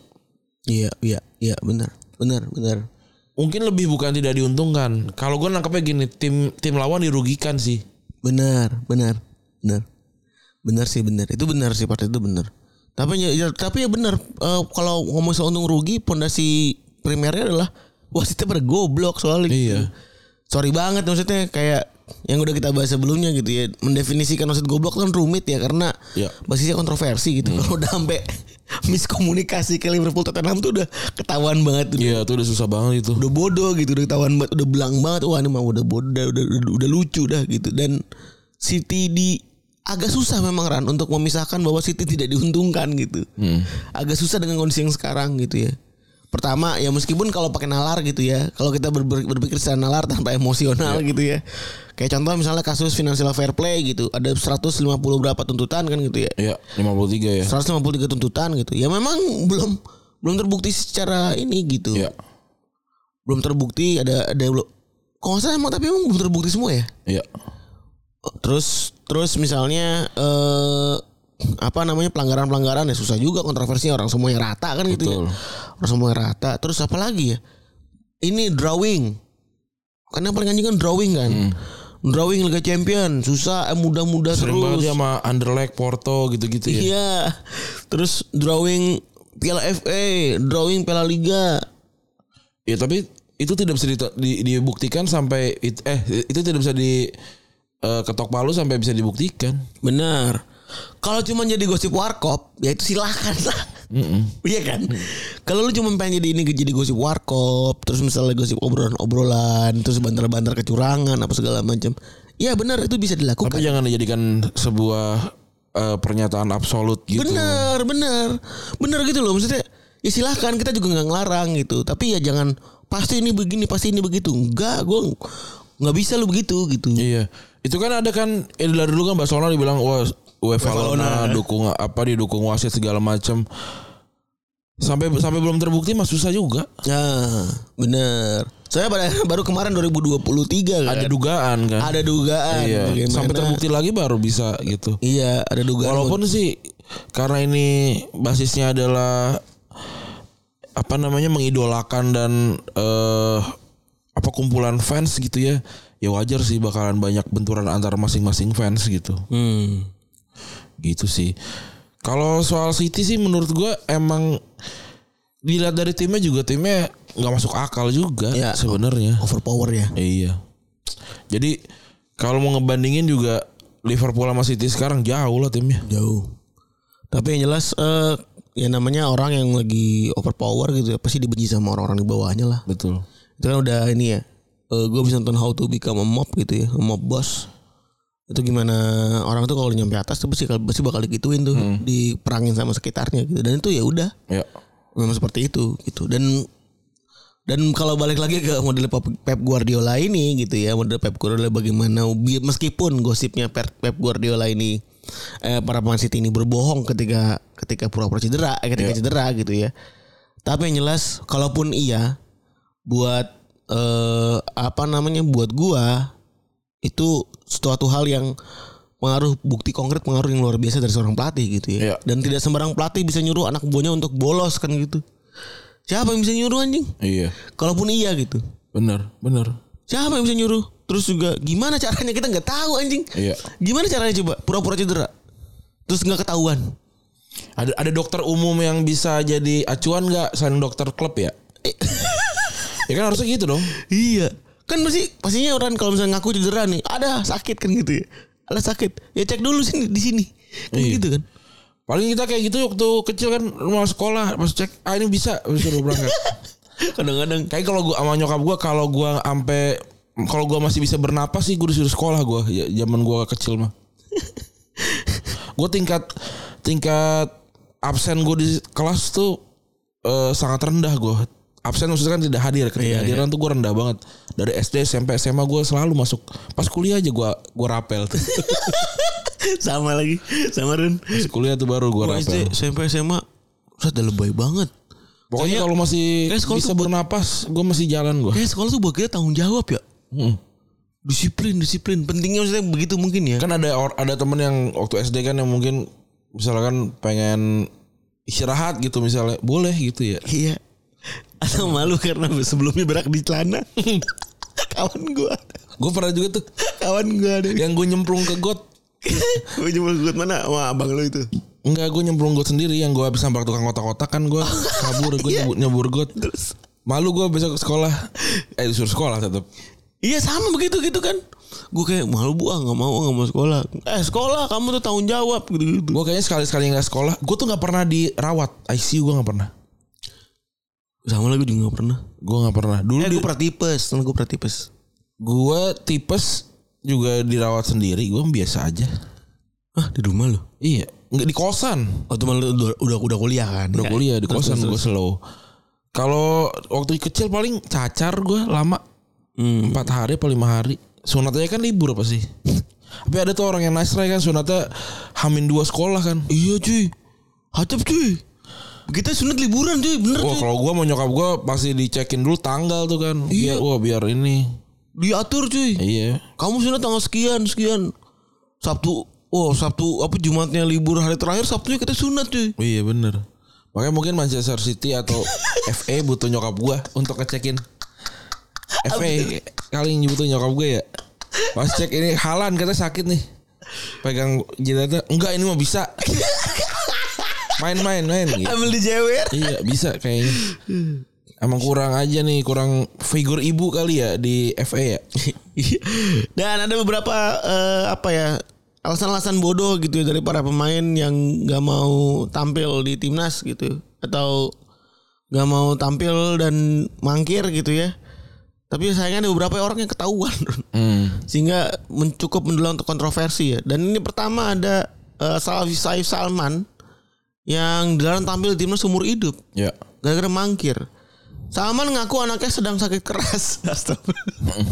B: Iya, iya, iya, benar. Benar, benar.
C: mungkin lebih bukan tidak diuntungkan kalau gua nangkepnya gini tim tim lawan dirugikan sih
B: Benar, benar, benar, benar sih benar. Itu benar sih part itu benar. Tapi ya, ya- tapi ya benar. Eh, kalau ngomong soal untung rugi, pondasi primernya adalah wasitnya pada goblok soalnya.
C: Iya.
B: Sorry banget maksudnya kayak yang udah kita bahas sebelumnya gitu ya mendefinisikan wasit goblok kan rumit ya karena
C: Iya.
B: basisnya kontroversi gitu kalau udah sampai miskomunikasi ke Liverpool Tottenham tuh udah ketahuan banget tuh.
C: Iya tuh udah susah banget itu.
B: udah bodoh gitu udah ketahuan banget udah belang banget wah ini mah udah bodoh udah, udah, udah, udah lucu dah gitu dan City di agak susah memang Ran untuk memisahkan bahwa City tidak diuntungkan gitu
C: Hmm.
B: agak susah dengan kondisi yang sekarang gitu ya pertama ya meskipun kalau pakai nalar gitu ya kalau kita ber- ber- berpikir secara nalar tanpa emosional
C: Iya.
B: gitu ya kayak contoh misalnya kasus financial fair play gitu ada 150 berapa tuntutan kan gitu ya
C: Iya 53 ya.
B: 153 tuntutan gitu ya memang belum belum terbukti secara ini gitu
C: Iya.
B: belum terbukti ada ada belum kalau nggak salah emang tapi emang belum terbukti semua ya Oh,
C: Iya.
B: terus terus misalnya eh apa namanya pelanggaran pelanggaran ya susah juga kontroversinya orang semuanya rata kan gitu ya.
C: Betul.
B: orang semuanya rata terus apa lagi ya ini drawing karena yang paling anjing kan drawing kan
C: Hmm.
B: drawing Liga Champion susah eh, mudah-mudah
C: Sering
B: terus
C: banget ya, dia sama Underleg Porto gitu-gitu ya.
B: iya terus drawing Piala FA drawing Piala Liga
C: Ya tapi itu tidak bisa dite- di- dibuktikan sampai it- eh itu tidak bisa di eh, ketok palu sampai bisa dibuktikan.
B: Benar. Kalau cuma jadi gosip warkop, ya itu silahkan lah. Iya kan? Kalau lu cuma pengen jadi ini jadi gosip warkop, terus misalnya gosip obrolan-obrolan, terus bantar-bantar kecurangan apa segala macam. Ya benar itu bisa
C: Tapi ya
B: dilakukan.
C: jangan dijadikan sebuah eh, pernyataan absolut gitu.
B: Benar, benar. Benar gitu loh maksudnya. Ya silahkan kita juga nggak ngelarang gitu. Tapi ya jangan pasti ini begini, pasti ini begitu. Enggak, gua nggak bisa lu begitu gitu.
C: Iya. Itu kan ada kan eh, dari dulu kan Barcelona dibilang wah UEFA Lona dukung apa didukung wasit segala macam. Sampai sampai belum terbukti mah susah juga.
B: Nah, benar. Soalnya pada baru kemarin 2023 kan.
C: Ada dugaan kan.
B: ada dugaan
C: Iya.
B: bagaimana-
C: Sampai terbukti lagi baru bisa gitu.
B: iya ada dugaan
C: Walaupun sih karena ini basisnya adalah apa namanya mengidolakan dan eh apa kumpulan fans gitu ya. Ya wajar sih bakalan banyak benturan antara masing-masing fans gitu.
B: Hmm.
C: Gitu sih. Kalau soal City sih menurut gua emang dilihat dari timnya juga timnya nggak masuk akal juga
B: Iya.
C: sebenarnya.
B: overpower ya
C: Iya. Jadi kalau mau ngebandingin juga Liverpool sama City sekarang jauh lah timnya.
B: jauh tapi yang jelas eh ya namanya orang yang lagi overpower gitu ya pasti dibenci sama orang-orang di bawahnya lah
C: Betul.
B: itu kan udah ini ya gue bisa nonton How to Become a Mob gitu ya a Mob Boss itu gimana orang tuh kalau nyampe atas tuh pasti pasti bakal digituin tuh diperangin sama sekitarnya gitu dan itu ya udah
C: Ya.
B: memang seperti itu gitu dan dan kalau balik lagi ke model Pep Pep Guardiola ini gitu ya model Pep Guardiola bagaimana bi- meskipun gosipnya Per- Pep Guardiola ini eh, para pemain City ini berbohong ketika ketika pura-pura cedera eh, ketika cedera gitu ya tapi yang jelas kalaupun iya buat eh, apa namanya buat gua itu suatu hal yang pengaruh bukti konkret pengaruh yang luar biasa dari seorang pelatih gitu ya.
C: Iya.
B: Dan tidak sembarang pelatih bisa nyuruh anak buahnya untuk bolos kan gitu. Siapa yang bisa nyuruh anjing?
C: Iya.
B: Kalaupun iya gitu.
C: Bener, bener.
B: Siapa yang bisa nyuruh? Terus juga gimana caranya kita nggak tahu anjing.
C: Iya.
B: Gimana caranya coba? Pura-pura cedera. Terus nggak ketahuan.
C: Ada ada dokter umum yang bisa jadi acuan nggak selain dokter klub ya? ya kan harusnya gitu dong.
B: Iya. Kan pasti pastinya orang kalau misalnya ngaku cedera nih, ada sakit kan gitu ya. Ada sakit. Ya cek dulu sini di sini. Kan
C: Iya.
B: gitu kan.
C: Paling kita kayak gitu waktu kecil kan mau sekolah pas cek ah ini bisa disuruh berangkat.
B: Kadang-kadang
C: kayak kalau gua sama nyokap gua kalau gua ampe kalau gua masih bisa bernapas sih gua disuruh sekolah gua ya, zaman gua kecil mah. gua tingkat tingkat absen gua di kelas tuh eh, sangat rendah gua. Absen maksudnya kan tidak hadir.
B: Iya,
C: Ketidakhadiran tuh gua rendah banget. Dari SD SMP SMA gua selalu masuk. Pas kuliah aja gua gua rapel tuh.
B: sama lagi sama Ren.
C: Pas kuliah tuh baru gua
B: Gua SD
C: rapel.
B: SMP SMA Ustaz udah lebay banget.
C: Pokoknya kalau masih
B: kayak sekolah
C: bisa
B: tuh buat-
C: bernapas, gua masih jalan gua.
B: Kayak sekolah tuh buat kita tanggung jawab ya.
C: Mm.
B: Disiplin, disiplin. Pentingnya maksudnya begitu mungkin ya.
C: kan ada or- ada temen yang waktu SD kan yang mungkin misalkan pengen istirahat gitu misalnya boleh gitu ya
B: Iya. Atau malu karena sebelumnya berak di celana. kawan gua ada.
C: gue pernah juga tuh
B: Kawan gua ada.
C: yang gue nyemplung ke got
B: Gue cuma ikut mana? Wah, abang lu itu.
C: enggak gue nyemplung got sendiri yang gue habis nabrak tukang kotak-kotak kan gue kabur gue nyebur, nyebur got
B: Terus
C: malu gue besok ke sekolah eh disuruh sekolah tetap
B: Iya sama begitu gitu kan. Gue kayak malu bu ah nggak mau ah, nggak mau sekolah. Eh sekolah kamu tuh tanggung jawab gitu gitu.
C: gue kayaknya sekali-sekali nggak sekolah gue tuh nggak pernah dirawat ICU gue nggak pernah
B: Sama lagi juga nggak pernah.
C: gue nggak pernah dulu
B: Eh
C: di-
B: gue pernah tipes, temen gue pernah tipes.
C: gue tipes juga dirawat sendiri gue biasa aja
B: Hah di rumah lu?
C: iya nggak di kosan
B: Oh teman lu udah udah, udah kuliah kan?
C: Udah kuliah di
B: Terus,
C: kosan
B: terus,
C: gue slow. Kalau waktu kecil paling cacar gue lama
B: Hmm.
C: empat hari atau lima hari. Sunatnya kan libur apa sih? Tapi ada tuh orang yang nasrai kan sunatnya hamin dua sekolah kan.
B: Iya cuy, hacep cuy. Kita sunat liburan cuy, bener
C: Wah
B: cuy.
C: kalau gue mau nyokap gue pasti dicekin dulu tanggal tuh kan.
B: Iya.
C: Biar, wah biar ini.
B: Diatur cuy.
C: Iya.
B: Kamu sunat tanggal sekian sekian. Sabtu, oh Sabtu apa Jumatnya libur hari terakhir Sabtunya kita sunat cuy.
C: Iya bener. Makanya mungkin Manchester City atau FA butuh nyokap gue untuk ngecekin. FA kali ini butuh nyokap gue ya. Pas cek ini halan kata sakit nih. Pegang jidatnya. Enggak ini mah bisa. Main-main main. Gitu.
B: Ambil di jewer.
C: Iya bisa kayaknya. Emang kurang aja nih kurang figur ibu kali ya di FA ya.
B: Dan ada beberapa eh, apa ya alasan-alasan bodoh gitu ya dari para pemain yang nggak mau tampil di timnas gitu atau nggak mau tampil dan mangkir gitu ya. Tapi sayangnya ada beberapa orang yang ketahuan
C: Hmm,
B: sehingga men- cukup mendulang untuk kontroversi ya. Dan ini pertama ada eh, Salaf- Saif Salman yang dilarang tampil di timnas seumur hidup
C: Ya.
B: gara-gara mangkir. Salman ngaku anaknya sedang sakit keras. Astagfirullah.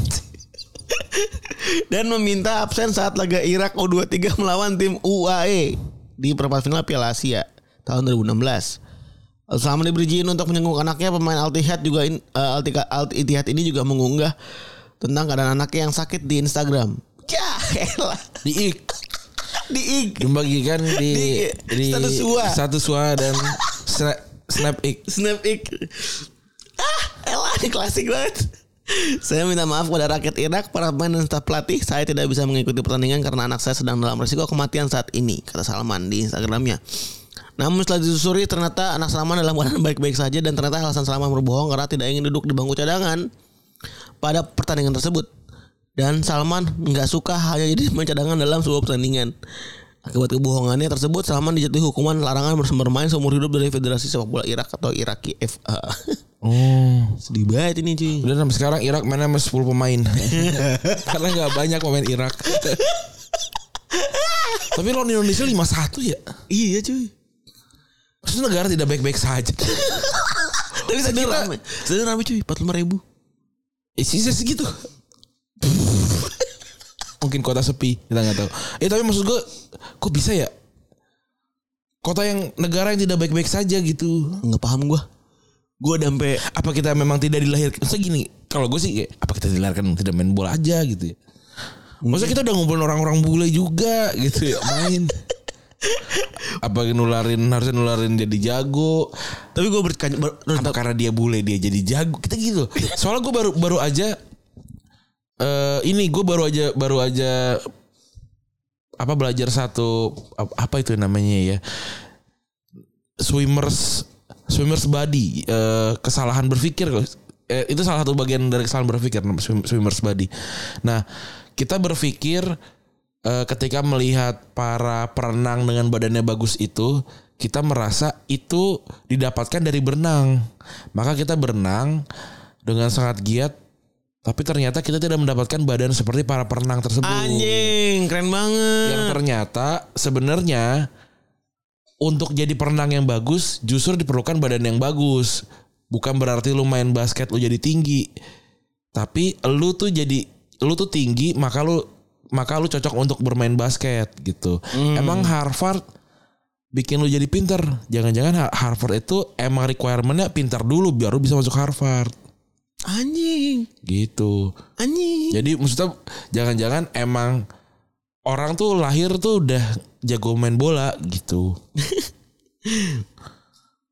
B: Dan meminta absen saat laga Irak U23 melawan tim UAE di perempat final Piala Asia tahun 2016. Salman diberi izin untuk menyenguk anaknya pemain Al Ittihad juga in- eh, Al Ittihad- Al Ittihad ini juga mengunggah tentang keadaan anaknya yang sakit di Instagram. Ya elah.
C: Di ik
B: Di IG.
C: dibagikan di,
B: Di- status wa.
C: status wa dan snap, snap ik.
B: Snap ik. Ah, elah ini klasik banget. Saya minta maaf kepada rakyat Irak, para pemain dan staf pelatih. Saya tidak bisa mengikuti pertandingan karena anak saya sedang dalam risiko kematian saat ini, kata Salman di Instagramnya. Namun setelah disusuri ternyata anak Salman dalam keadaan baik-baik saja dan ternyata alasan Salman berbohong karena tidak ingin duduk di bangku cadangan pada pertandingan tersebut. Dan Salman nggak suka hanya jadi pemain cadangan dalam sebuah pertandingan. Akibat kebohongannya tersebut, Salman dijatuhi hukuman larangan ber- bermain seumur hidup dari Federasi Sepak Bola Irak atau Iraki FA.
C: Oh.
B: Sedih banget ini cuy.
C: Udah sampai sekarang Irak mainnya sama 10 pemain. Karena nggak banyak pemain Irak. Tapi lawan Indonesia 5-1 ya.
B: Iya cuy.
C: Maksudnya negara tidak baik-baik saja.
B: Tapi sedih rame. Sedih rame cuy, 45 ribu.
C: Isinya Eh, segitu. Mungkin kota sepi, kita nggak tahu. Eh tapi maksud gue, kok bisa ya? Kota yang negara yang tidak baik-baik saja gitu.
B: Nggak paham gua. Gua udah sampai
C: apa kita memang tidak dilahirkan Maksudnya gini kalau gue sih kayak, apa kita dilahirkan tidak main bola aja gitu ya Maksudnya kita udah ngumpulin orang-orang bule juga gitu ya main. Apa nularin harusnya nularin jadi jago.
B: Tapi gue bertanya ber,
C: Apa karena dia bule dia jadi jago. Kita gitu. loh. Soalnya gue baru baru aja eh ini gue baru aja baru aja apa belajar satu ap- apa itu namanya ya swimmers swimmers body eh, kesalahan berpikir guys. Eh, itu salah satu bagian dari kesalahan berpikir nama swim- swimmers body nah kita berpikir eh, ketika melihat para perenang dengan badannya bagus itu kita merasa itu didapatkan dari berenang maka kita berenang dengan sangat giat tapi ternyata kita tidak mendapatkan badan seperti para perenang tersebut
B: anjing keren banget.
C: yang ternyata sebenarnya untuk jadi perenang yang bagus justru diperlukan badan yang bagus. Bukan berarti lu main basket lu jadi tinggi. Tapi lu tuh jadi lu tuh tinggi maka lu maka lu cocok untuk bermain basket gitu.
B: Hmm.
C: Emang Harvard bikin lu jadi pinter. Jangan-jangan Ha- Harvard itu emang requirementnya pinter dulu biar lu bisa masuk Harvard
B: Anjing.
C: gitu.
B: Anjing.
C: Jadi maksudnya jangan-jangan emang orang tuh lahir tuh udah jago main bola gitu.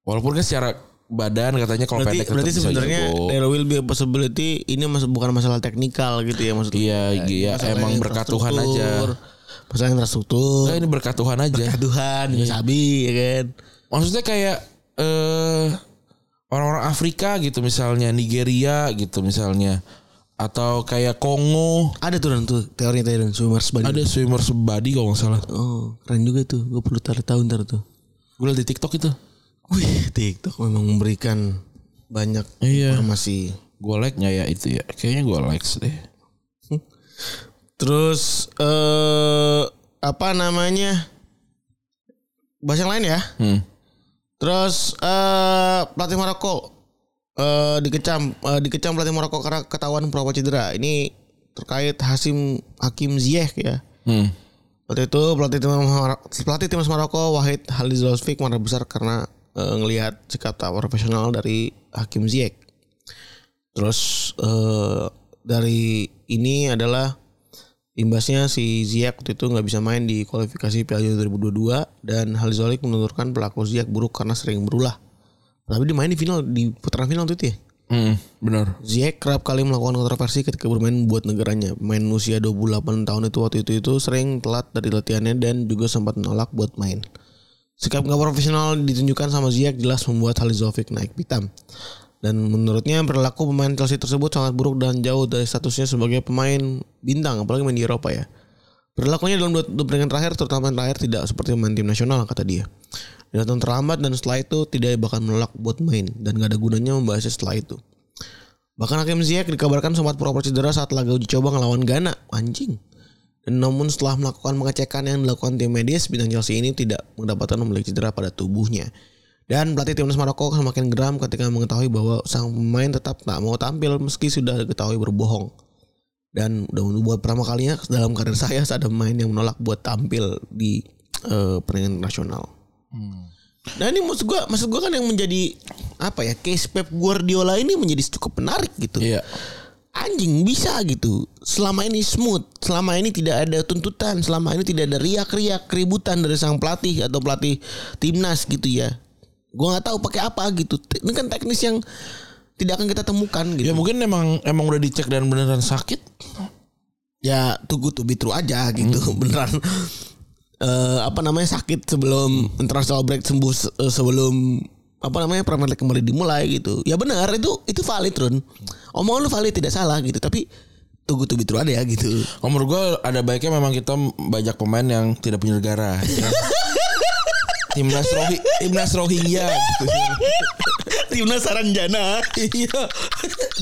C: Walaupun kan secara badan katanya kalau
B: Berarti,
C: pendek tetap
B: berarti
C: bisa
B: sebenarnya
C: jago.
B: there will be a possibility ini mas, bukan masalah teknikal gitu ya maksudnya.
C: Iya, iya
B: Masalah
C: emang berkat Tuhan aja.
B: infrastruktur, Masalah infrastruktur.
C: Nah, ini berkat Tuhan aja.
B: Berkat Tuhan, juga sabi ya kan.
C: Maksudnya kayak eh orang-orang Afrika gitu misalnya Nigeria gitu misalnya atau kayak Kongo
B: Ada tuh dan tuh teorinya tadi dan swimmers body.
C: ada swimmer sebadi kalau nggak salah.
B: Oh, keren juga tuh. Gue perlu taruh tahun ntar tuh.
C: Gue liat di TikTok itu.
B: Wih, TikTok memang memberikan banyak
C: Iya.
B: informasi.
C: Gue like nggak ya itu ya? Kayaknya gue like deh.
B: Terus eh apa namanya? Bahasa yang lain ya.
C: Hmm.
B: Terus eh pelatih Maroko eh dikecam eh, dikecam pelatih Maroko karena ketahuan perawa cedera. Ini terkait Hasim Hakim Ziyech ya.
C: Hmm.
B: Waktu itu pelatih timnas Mar- pelatih timnas Maroko Wahid Halilovic marah besar karena eh, ngelihat sikap tak profesional dari Hakim Ziyech. Terus eh, dari ini adalah imbasnya si Ziyech waktu itu nggak bisa main di kualifikasi Piala Dunia 2022 dan Halilovic menuturkan pelaku Ziyech buruk karena sering berulah. Tapi dia main di final di putaran final waktu itu ya.
C: Hmm, benar.
B: Ziyech kerap kali melakukan kontroversi ketika bermain buat negaranya. Main usia 28 tahun itu waktu itu itu sering telat dari latihannya dan juga sempat menolak buat main. Sikap nggak profesional ditunjukkan sama Ziyech jelas membuat Halizovic naik pitam. Dan menurutnya perilaku pemain Chelsea tersebut sangat buruk dan jauh dari statusnya sebagai pemain bintang, apalagi main di Eropa ya. Perilakunya dalam dua, dua pertandingan terakhir, terutama yang terakhir tidak seperti pemain tim nasional kata dia. Dia datang terlambat dan setelah itu tidak bahkan menolak buat main dan gak ada gunanya membahasnya setelah itu. Bahkan Hakim Ziyech dikabarkan sempat pura-pura cedera saat laga uji coba ngelawan Ghana. Anjing. Dan namun setelah melakukan pengecekan yang dilakukan tim medis, bintang Chelsea ini tidak mendapatkan memiliki cedera pada tubuhnya. Dan pelatih timnas Maroko semakin geram ketika mengetahui bahwa sang pemain tetap tak mau tampil meski sudah diketahui berbohong. Dan udah buat pertama kalinya dalam karir saya ada pemain yang menolak buat tampil di eh, pertandingan nasional.
C: Hmm.
B: Nah ini maksud gue, maksud gue kan yang menjadi apa ya case Pep Guardiola ini menjadi cukup menarik gitu.
C: Iya.
B: Anjing bisa gitu. Selama ini smooth, selama ini tidak ada tuntutan, selama ini tidak ada riak-riak keributan dari sang pelatih atau pelatih timnas gitu ya. Gue nggak tahu pakai apa gitu. Te- Ini kan teknis yang tidak akan kita temukan
C: Ya
B: gitu. Ya,
C: mungkin emang emang udah dicek dan beneran sakit.
B: Ya, tunggu tuh bitru aja gitu beneran. Eh, apa namanya sakit sebelum international break sembuh se- eh, sebelum apa namanya Premier League kembali dimulai gitu. Ya benar itu itu valid Run. Omongan lu valid tidak salah gitu, tapi tunggu tuh bitru ada ya gitu.
C: Kalau menurut gue ada baiknya memang kita banyak pemain yang tidak punya negara. ya. timnas Rohi, timnas Rohingya. Gitu.
B: Timnas Saranjana.
C: Iya.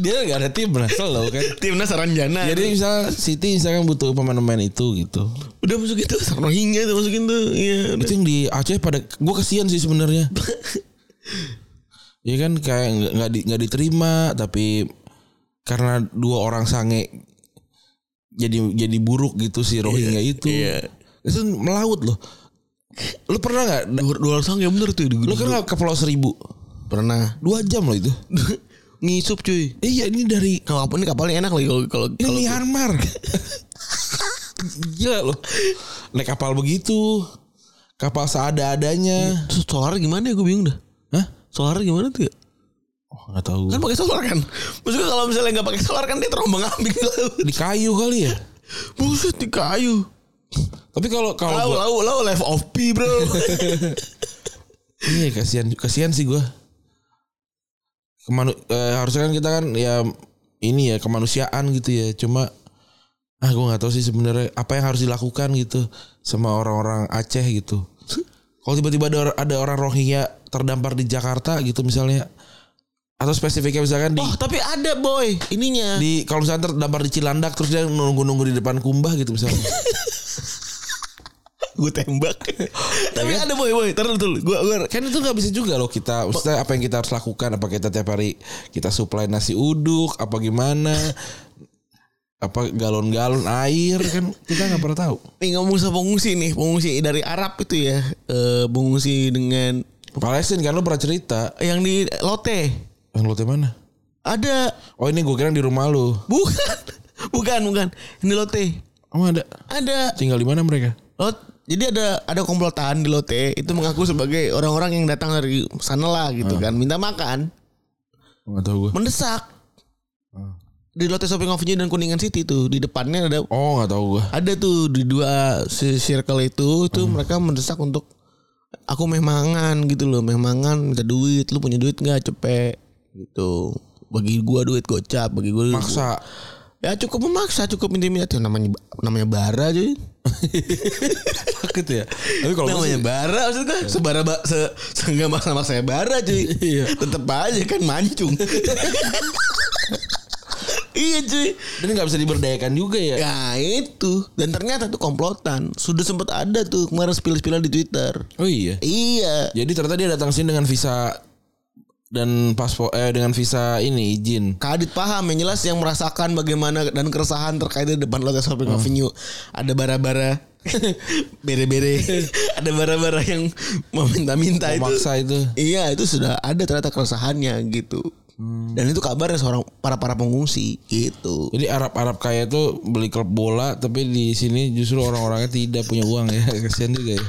C: Dia nggak ada timnas loh kan.
B: Timnas Saranjana.
C: Jadi misalnya City misalkan butuh pemain-pemain itu gitu.
B: udah masukin tuh Rohingya tuh masukin tuh. Iya. udah.
C: Itu yang di Aceh pada gue kasihan sih sebenarnya. Iya kan kayak nggak- nggak di, nggak diterima tapi karena dua orang sange jadi jadi buruk gitu si Rohingya itu.
B: iya.
C: Itu melaut loh. Lu pernah nggak?
B: Dua, dua sang ya bener tuh.
C: Lu
B: Lu
C: kan nggak ke Pulau Seribu?
B: pernah
C: Dua jam loh itu.
B: ngisup cuy.
C: Iya ini dari
B: Kalau kapal ini kapalnya enak lagi kalau kalau
C: ini
B: kalau-
C: Myanmar. Gila loh. Naik kapal begitu. Kapal seada-adanya.
B: Terus solar gimana ya gue bingung dah.
C: Hah?
B: Solar gimana tuh ya?
C: Oh, gak tahu.
B: Kan pakai solar kan. Maksudnya kalau misalnya nggak pakai solar kan dia terombang ambing
C: Di kayu kali ya.
B: Buset di kayu.
C: Tapi kalau kalau
B: Lau
C: gua-
B: lau lau life of P bro.
C: Iya kasihan kasihan sih gue. Kemanu eh, harusnya kan kita kan ya ini ya kemanusiaan gitu ya. Cuma ah gue nggak tahu sih sebenarnya apa yang harus dilakukan gitu sama orang-orang Aceh gitu. Kalau tiba-tiba ada, or- ada orang Rohingya terdampar di Jakarta gitu misalnya atau spesifiknya misalkan di
B: oh tapi ada boy ininya.
C: di kalau misalnya terdampar di Cilandak terus dia nunggu-nunggu di depan kumbah gitu misalnya.
B: gue tembak. tapi ada boy boy. Terus dulu. Gue gue
C: kan itu nggak bisa juga loh kita maksudnya apa yang kita harus lakukan apa kita tiap hari kita suplai nasi uduk apa gimana apa galon-galon air kan kita nggak pernah tahu
B: nih ngomong sama pengungsi nih pengungsi dari Arab itu ya Eh pengungsi dengan
C: Palestina kan lo pernah cerita
B: yang di Lote
C: yang lo mana
B: ada
C: oh ini gue kira di rumah lo
B: bukan bukan bukan ini Lote
C: emang ada
B: ada
C: tinggal di mana mereka
B: Lot jadi ada ada komplotan di Lote itu mengaku sebagai orang-orang yang datang dari sana lah gitu kan minta makan
C: nggak tahu gue
B: mendesak di Lotte Shopping Avenue dan Kuningan City tuh di depannya ada
C: oh nggak tahu gue
B: ada tuh di dua si- circle itu itu
C: Hmm.
B: mereka mendesak untuk aku meh mangan gitu loh meh mangan minta duit lu punya duit nggak cepet gitu bagi gua duit gocap bagi gua duit-
C: maksa
B: ya cukup memaksa cukup minta-minta tuh namanya namanya bara jadi
C: sakit ya tapi kalau gua
B: namanya
C: sih-
B: bara maksudnya kan? sebara ba, se seenggak maksa maksa bara cuy
C: Iya.
B: tetep aja kan mancung iya cuy
C: ini nggak bisa diberdayakan juga ya
B: Ya itu Dan ternyata tuh komplotan Sudah sempat ada tuh Kemarin spill-spillan di Twitter
C: oh iya
B: Iya
C: jadi ternyata dia datang sini dengan visa dan paspor eh dengan visa ini izin
B: Kadit paham yang jelas yang merasakan bagaimana dan keresahan terkait di depan Lotte Shopping
C: Hmm.
B: Avenue ada bara-bara bere-bere ada bara-bara yang meminta-minta itu
C: memaksa itu
B: iya itu sudah ada ternyata keresahannya gitu
C: Hmm.
B: dan itu kabarnya seorang para para pengungsi gitu
C: Jadi Arab-Arab kaya itu beli klub bola tapi di sini justru orang-orangnya tidak punya uang ya. Kasihan juga ya.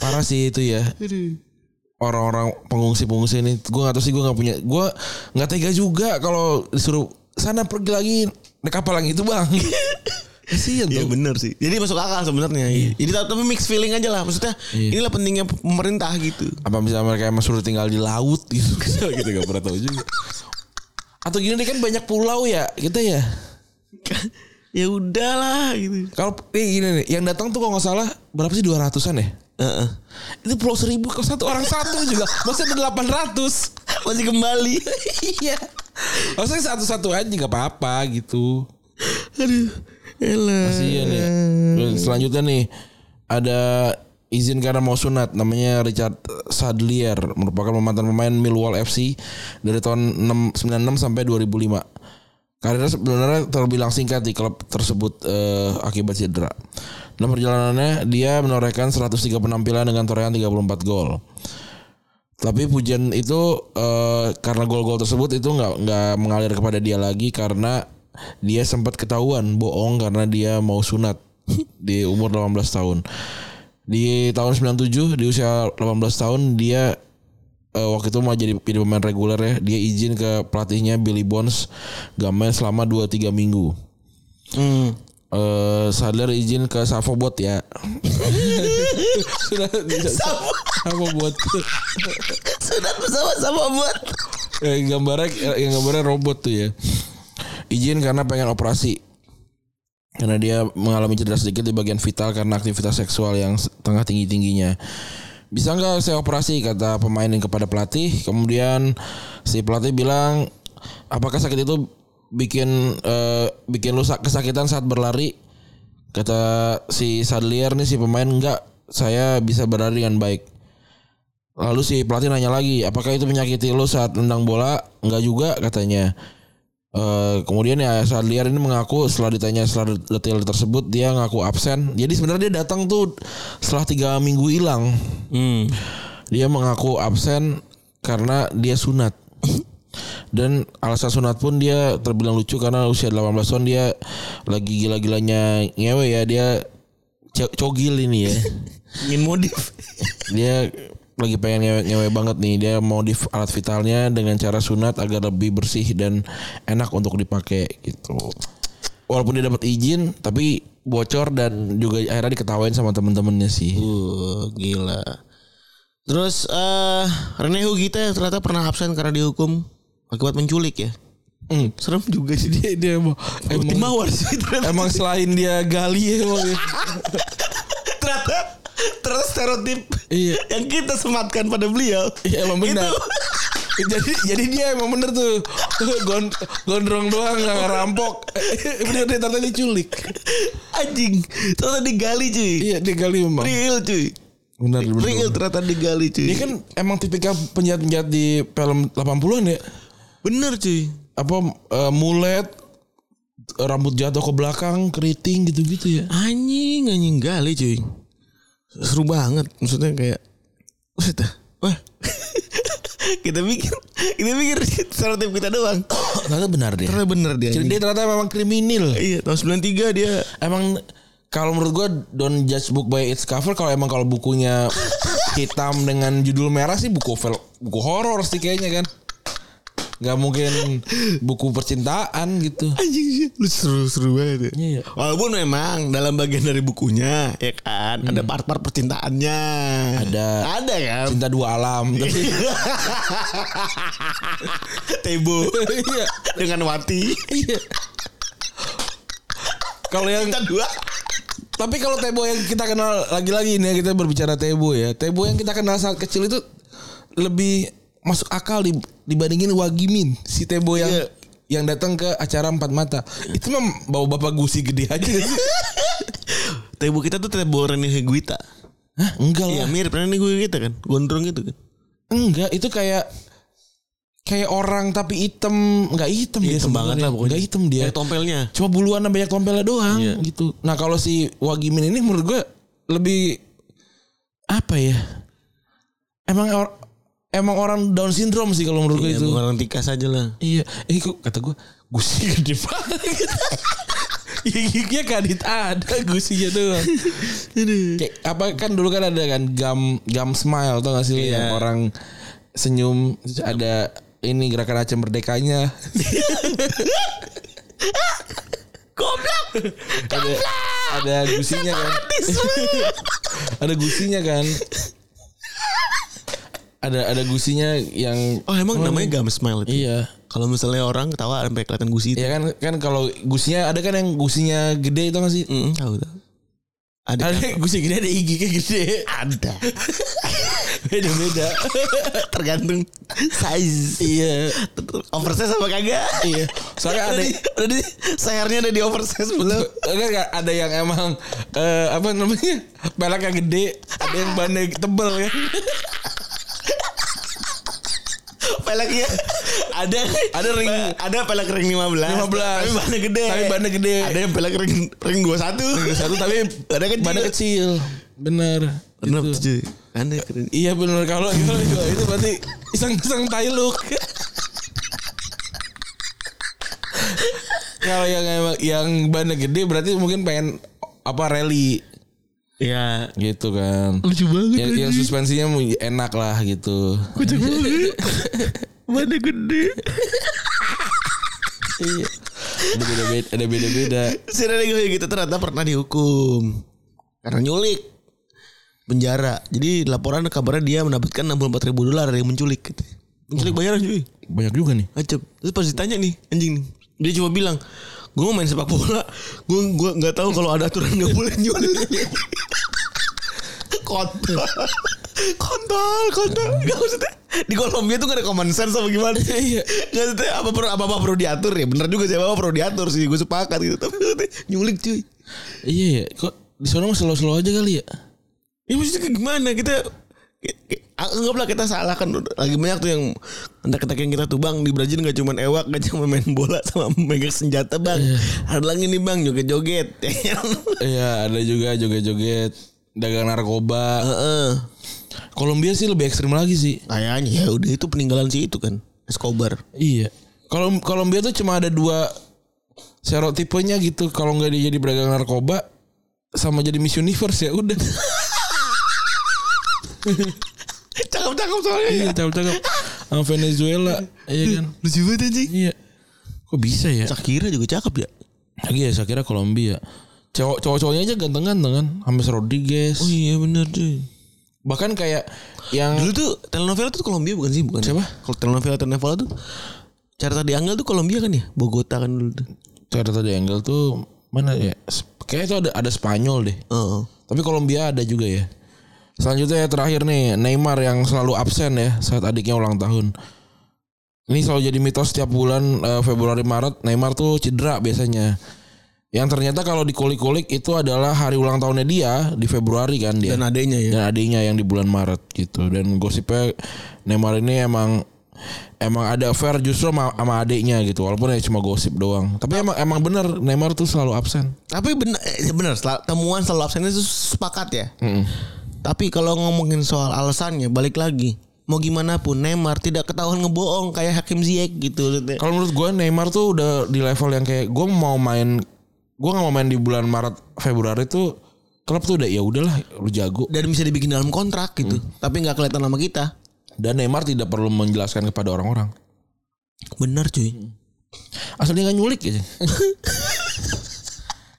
C: Parah sih itu ya. Orang-orang pengungsi-pengungsi ini gue gak tahu sih gue gak punya gue gak tega juga kalau disuruh sana pergi lagi naik kapal yang itu bang. Kasihan
B: Iya
C: tuh.
B: bener sih. Jadi masuk akal sebenarnya. Jadi tapi- tapi mix feeling aja lah. Maksudnya
C: Iya.
B: inilah pentingnya pemerintah gitu.
C: Apa misalnya mereka emang suruh tinggal di laut gitu. kita gak pernah tahu juga. Atau gini deh kan banyak pulau ya kita ya.
B: ya udahlah gitu.
C: Kalau eh, gini nih, yang datang tuh kalau nggak salah berapa sih 200-an ya?
B: Heeh.
C: Itu pulau seribu kalau satu orang satu juga. Maksudnya ada 800.
B: Masih kembali.
C: iya. Maksudnya satu-satu aja nggak apa-apa gitu.
B: Aduh. Elah.
C: Kasihan ya. Dan Selanjutnya nih ada izin karena mau sunat namanya Richard Sadlier merupakan mantan pemain Millwall FC dari tahun 6, 96 sampai 2005. Karirnya sebenarnya terbilang singkat di klub tersebut eh, akibat cedera. Dalam perjalanannya dia menorehkan 103 penampilan dengan torehan 34 gol. Tapi pujian itu eh, karena gol-gol tersebut itu nggak nggak mengalir kepada dia lagi karena dia sempat ketahuan bohong karena dia mau sunat di umur 18 tahun. Di tahun 97 di usia 18 tahun dia eh, waktu itu mau jadi, jadi pemain reguler ya. Dia izin ke pelatihnya Billy Bones gak main selama 2-3 minggu. Eh Sadler izin ke Savobot ya. Sudah
B: Sama,
C: Savobot.
B: sudah bersama-sama buat.
C: Eh, gambarnya eh, yang gambarnya robot tuh ya. Izin karena pengen operasi. Karena dia mengalami cedera sedikit di bagian vital karena aktivitas seksual yang se- tengah tinggi-tingginya. Bisa nggak saya operasi kata pemain ini kepada pelatih. Kemudian si pelatih bilang apakah sakit itu bikin eh, bikin lu sak- kesakitan saat berlari? Kata si Sadlier nih si pemain enggak saya bisa berlari dengan baik. Lalu si pelatih nanya lagi, apakah itu menyakiti lo saat tendang bola? Enggak juga katanya. Eh, kemudian ya saat liar ini mengaku setelah ditanya setelah detail tersebut dia ngaku absen. Jadi sebenarnya dia datang tuh setelah tiga minggu hilang.
B: Hmm.
C: Dia mengaku absen karena dia sunat. Dan alasan sunat pun dia terbilang lucu karena usia 18 tahun dia lagi gila-gilanya ngewe ya dia co- cogil ini ya.
B: Ingin modif.
C: dia lagi pengen ngewe, ngewe banget nih dia modif alat vitalnya dengan cara sunat agar lebih bersih dan enak untuk dipakai gitu. Walaupun dia dapat izin tapi bocor dan juga akhirnya diketawain sama temen-temennya sih.
B: Uh, gila. Terus eh Rene Hugita ternyata pernah absen karena dihukum akibat menculik ya.
C: Hmm.
B: Serem juga sih dia.
C: Dia dia emang
B: Tim
C: emang,
B: Mawar sih ternyata.
C: emang selain dia gali ya emang ya.
B: ternyata ternyata stereotip
C: Iya.
B: yang kita sematkan pada beliau.
C: Iya emang benar. jadi jadi dia emang bener tuh Gon- gondrong doang nggak ngerampok. bener dia ternyata diculik.
B: Anjing. Ternyata digali cuy.
C: Iya dia gali memang.
B: Real cuy.
C: Benar benar.
B: Real ternyata digali cuy.
C: Dia kan emang tipikal penjahat-penjahat di film 80-an ya.
B: bener cuy.
C: Apa eh, mulet rambut jatuh ke belakang, keriting gitu-gitu ya.
B: Anjing anjing gali cuy. Seru banget. Maksudnya kayak Buset dah. Wah. kita pikir kita pikir stereotip kita doang.
C: Ternyata benar dia.
B: Ternyata bener dia.
C: Dia ternyata memang kriminal.
B: Iya tahun 93 dia
C: Emang kalau menurut gue don't judge book by its cover kalau emang kalau bukunya hitam dengan judul merah sih buku vel- buku horor sih kayaknya kan. Gak mungkin buku percintaan gitu.
B: anjing sih lu seru-seru banget.
C: Iya, iya.
B: Ya. Walaupun memang dalam bagian dari bukunya ya kan ada part-part percintaannya.
C: Ada.
B: Ada kan.
C: Cinta dua alam tapi
B: Tebo
C: iya.
B: dengan Wati.
C: Iya. Kalau yang
B: Kita dua.
C: tapi kalau Tebo yang kita kenal lagi-lagi ini ya, kita berbicara Tebo ya. Tebo yang kita kenal saat kecil itu lebih masuk akal dib- dibandingin Wagimin si Tebo yang
B: Iya.
C: yang datang ke acara empat mata. Itu mah bawa bapak gusi gede aja. gak sih?
B: Tebo kita tuh Tebo Rene Higuita.
C: Hah, enggak
B: Iya
C: lah.
B: mirip Rene Higuita kan. Gondrong gitu kan.
C: Enggak, itu kayak kayak orang tapi hitam, enggak hitam dia
B: Hitam banget
C: sebenarnya.
B: Iya, lah pokoknya.
C: Enggak hitam dia.
B: Kayak tompelnya.
C: Cuma buluan dan banyak tompelnya doang
B: Iya.
C: gitu. Nah kalau si Wagimin ini menurut gue lebih apa ya? Emang or- emang orang Down syndrome sih kalau menurut gue
B: Iya,
C: itu.
B: bukan orang tikas aja lah.
C: Iya. Eh kok kata gue gusi gede banget. Ya giginya kadit ada gusinya doang. Kayak apa kan dulu kan ada kan gam gam smile tau gak sih lu
B: Iya.
C: yang orang senyum terus ada ini gerakan Aceh Merdekanya.
A: Goblok.
C: ada ada gusinya kan ada gusinya kan ada ada gusinya yang Hmm.
B: Oh emang namanya gum smile itu.
C: iya
B: Kalau misalnya orang ketawa sampai kelihatan gusi itu.
C: ya kan kan kalau gusinya ada kan yang gusinya gede itu nggak sih
B: Mm, tahu tahu. Ada. kan?
C: ada yang gusi gede ada yang giginya gede
B: ada.
C: beda beda
B: Tergantung size.
C: iya
B: Oversize apa kagak?
C: iya soalnya
B: Ada
C: ada
B: di, udah di sayarnya ada di oversize belum?
C: Kan ada yang emang eh, apa namanya pelaknya gede, ada yang bannya tebel kan.
B: Peleknya ada
C: Ada ring
B: ada pelek ring 15.
C: 15.
B: Tapi bannya gede.
C: Tapi bannya gede.
B: Ada yang pelek ring ring 21.
C: Yang satu tapi
B: ada kecil.
C: badannya kecil. Bener.
B: Bener
C: Gitu.
B: cuy. Ada keren.
C: Iya bener kalau kalau- kalau itu berarti iseng-iseng tai look. kalau yang emang yang badannya gede berarti mungkin pengen apa rally
B: Iya.
C: gitu kan.
B: Lucu banget.
C: Yang, yang suspensinya enak lah gitu.
B: Kocak banget. Mana gede.
C: Iya. Ada beda-beda, ada beda-beda.
B: Si Rene gue gitu ternyata pernah dihukum karena nyulik penjara. Jadi laporan kabarnya dia mendapatkan 64 ribu dolar dari menculik. gitu. Menculik bayaran cuy.
C: Banyak juga nih.
B: Acep. Terus pas ditanya nih anjing nih. Dia cuma bilang, gue mau main sepak bola. Gue gua nggak tahu kalau ada aturan nggak boleh nyulik. kontol, kontol, kontol. Gak maksudnya di Kolombia tuh gak ada common sense apa gimana?
C: Iya.
B: Gak maksudnya apa perlu apa, apa perlu diatur ya? Bener juga sih apa, perlu diatur sih. Gue sepakat gitu. Tapi maksudnya nyulik cuy.
C: Iya ya. Kok di sana mah slow-slow aja kali ya?
B: Ya maksudnya kayak gimana kita kayak- kayak- ah, anggaplah kita salah kan lagi banyak tuh yang hendak yang kita tuh bang di Brazil nggak cuman ewak nggak cuma main bola sama megang senjata bang ada lagi nih bang joget-joget
C: Iya, ada juga joget-joget, dagang narkoba.
B: Heeh.
C: Kolombia sih lebih ekstrim lagi sih.
B: kayaknya ya udah itu peninggalan si itu kan Escobar.
C: Iya. Kalau Kolombia tuh cuma ada dua serotipenya gitu. Kalau nggak dia jadi pedagang narkoba sama jadi Miss Universe ya udah.
B: Eh, Cakep-cakep soalnya.
C: iya, cakep-cakep. Sama Venezuela, iya kan?
B: Lucu banget anjing.
C: Iya. Kok bisa ya?
B: Shakira juga cakep ya.
C: Lagi ya saya kira Kolombia. Cowok- Cowok-cowoknya aja ganteng-ganteng kan. James Rodriguez.
B: iya bener tuh.
C: Bahkan kayak yang
B: Dulu tuh telenovela tuh Kolombia bukan sih bukan?
C: Siapa?
B: ya? Kalau telenovela telenovela tuh Carta de Angel tuh Kolombia kan ya? Bogota kan dulu tuh.
C: cara tadi angle tuh mana ya? Kayaknya itu ada ada Spanyol deh.
B: Heeh.
C: Tapi Kolombia ada juga ya. Selanjutnya yang terakhir nih Neymar yang selalu absen ya saat adiknya ulang tahun. Ini selalu jadi mitos setiap bulan eh, Februari Maret Neymar tuh cedera biasanya. Yang ternyata kalau dikulik-kulik itu adalah hari ulang tahunnya dia di Februari kan dia
B: Dan adanya ya.
C: dan adiknya yang di bulan Maret gitu dan gosipnya Neymar ini emang emang ada affair justru sama, sama adiknya gitu walaupun ya cuma gosip doang tapi emang emang bener Neymar tuh selalu absen
B: Tapi bener, eh, bener sel- temuan selalu absennya itu sepakat ya. Tapi kalau ngomongin soal alasannya balik lagi mau gimana pun Neymar tidak ketahuan ngebohong kayak Hakim Ziyech gitu.
C: kalau menurut gue Neymar tuh udah di level yang kayak gue mau main gue nggak mau main di bulan Maret Februari tuh klub tuh udah ya udahlah lu jago
B: Dan bisa dibikin dalam kontrak gitu. Tapi nggak kelihatan sama kita.
C: dan Neymar tidak perlu menjelaskan kepada orang-orang
B: Bener cuy.
C: Asalnya nggak nyulik aja.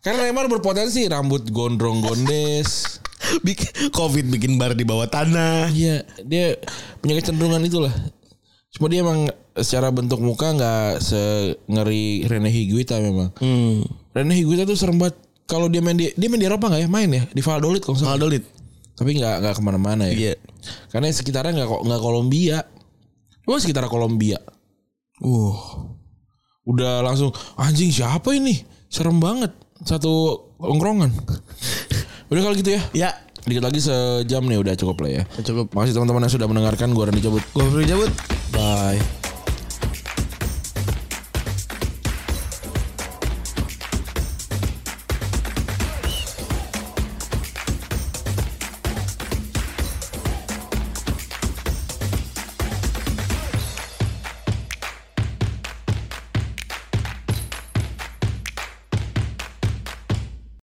C: Karena Neymar berpotensi rambut gondrong gondes.
B: Bik- Covid bikin bar di bawah tanah.
C: Iya, dia punya kecenderungan itulah. Cuma dia emang secara bentuk muka nggak se ngeri Rene Higuita memang.
B: Hmm.
C: Rene Higuita tuh serem banget. Kalau dia main di dia main di Eropa nggak ya? Main ya di Valladolid kalau nggak salah.
B: Valladolid.
C: Tapi nggak nggak kemana-mana ya.
B: Iya.
C: Karena sekitarnya nggak kok- nggak Kolombia. Cuma sekitar Kolombia.
B: Uh.
C: Udah langsung anjing siapa ini? Serem banget. Satu ongkrongan. Udah kalau gitu ya.
B: Ya,
C: Dikit lagi sejam nih udah cukup lah ya.
B: cukup.
C: Makasih teman-teman yang sudah mendengarkan. Gue Randy cabut.
B: Gue perlu cabut.
C: Bye.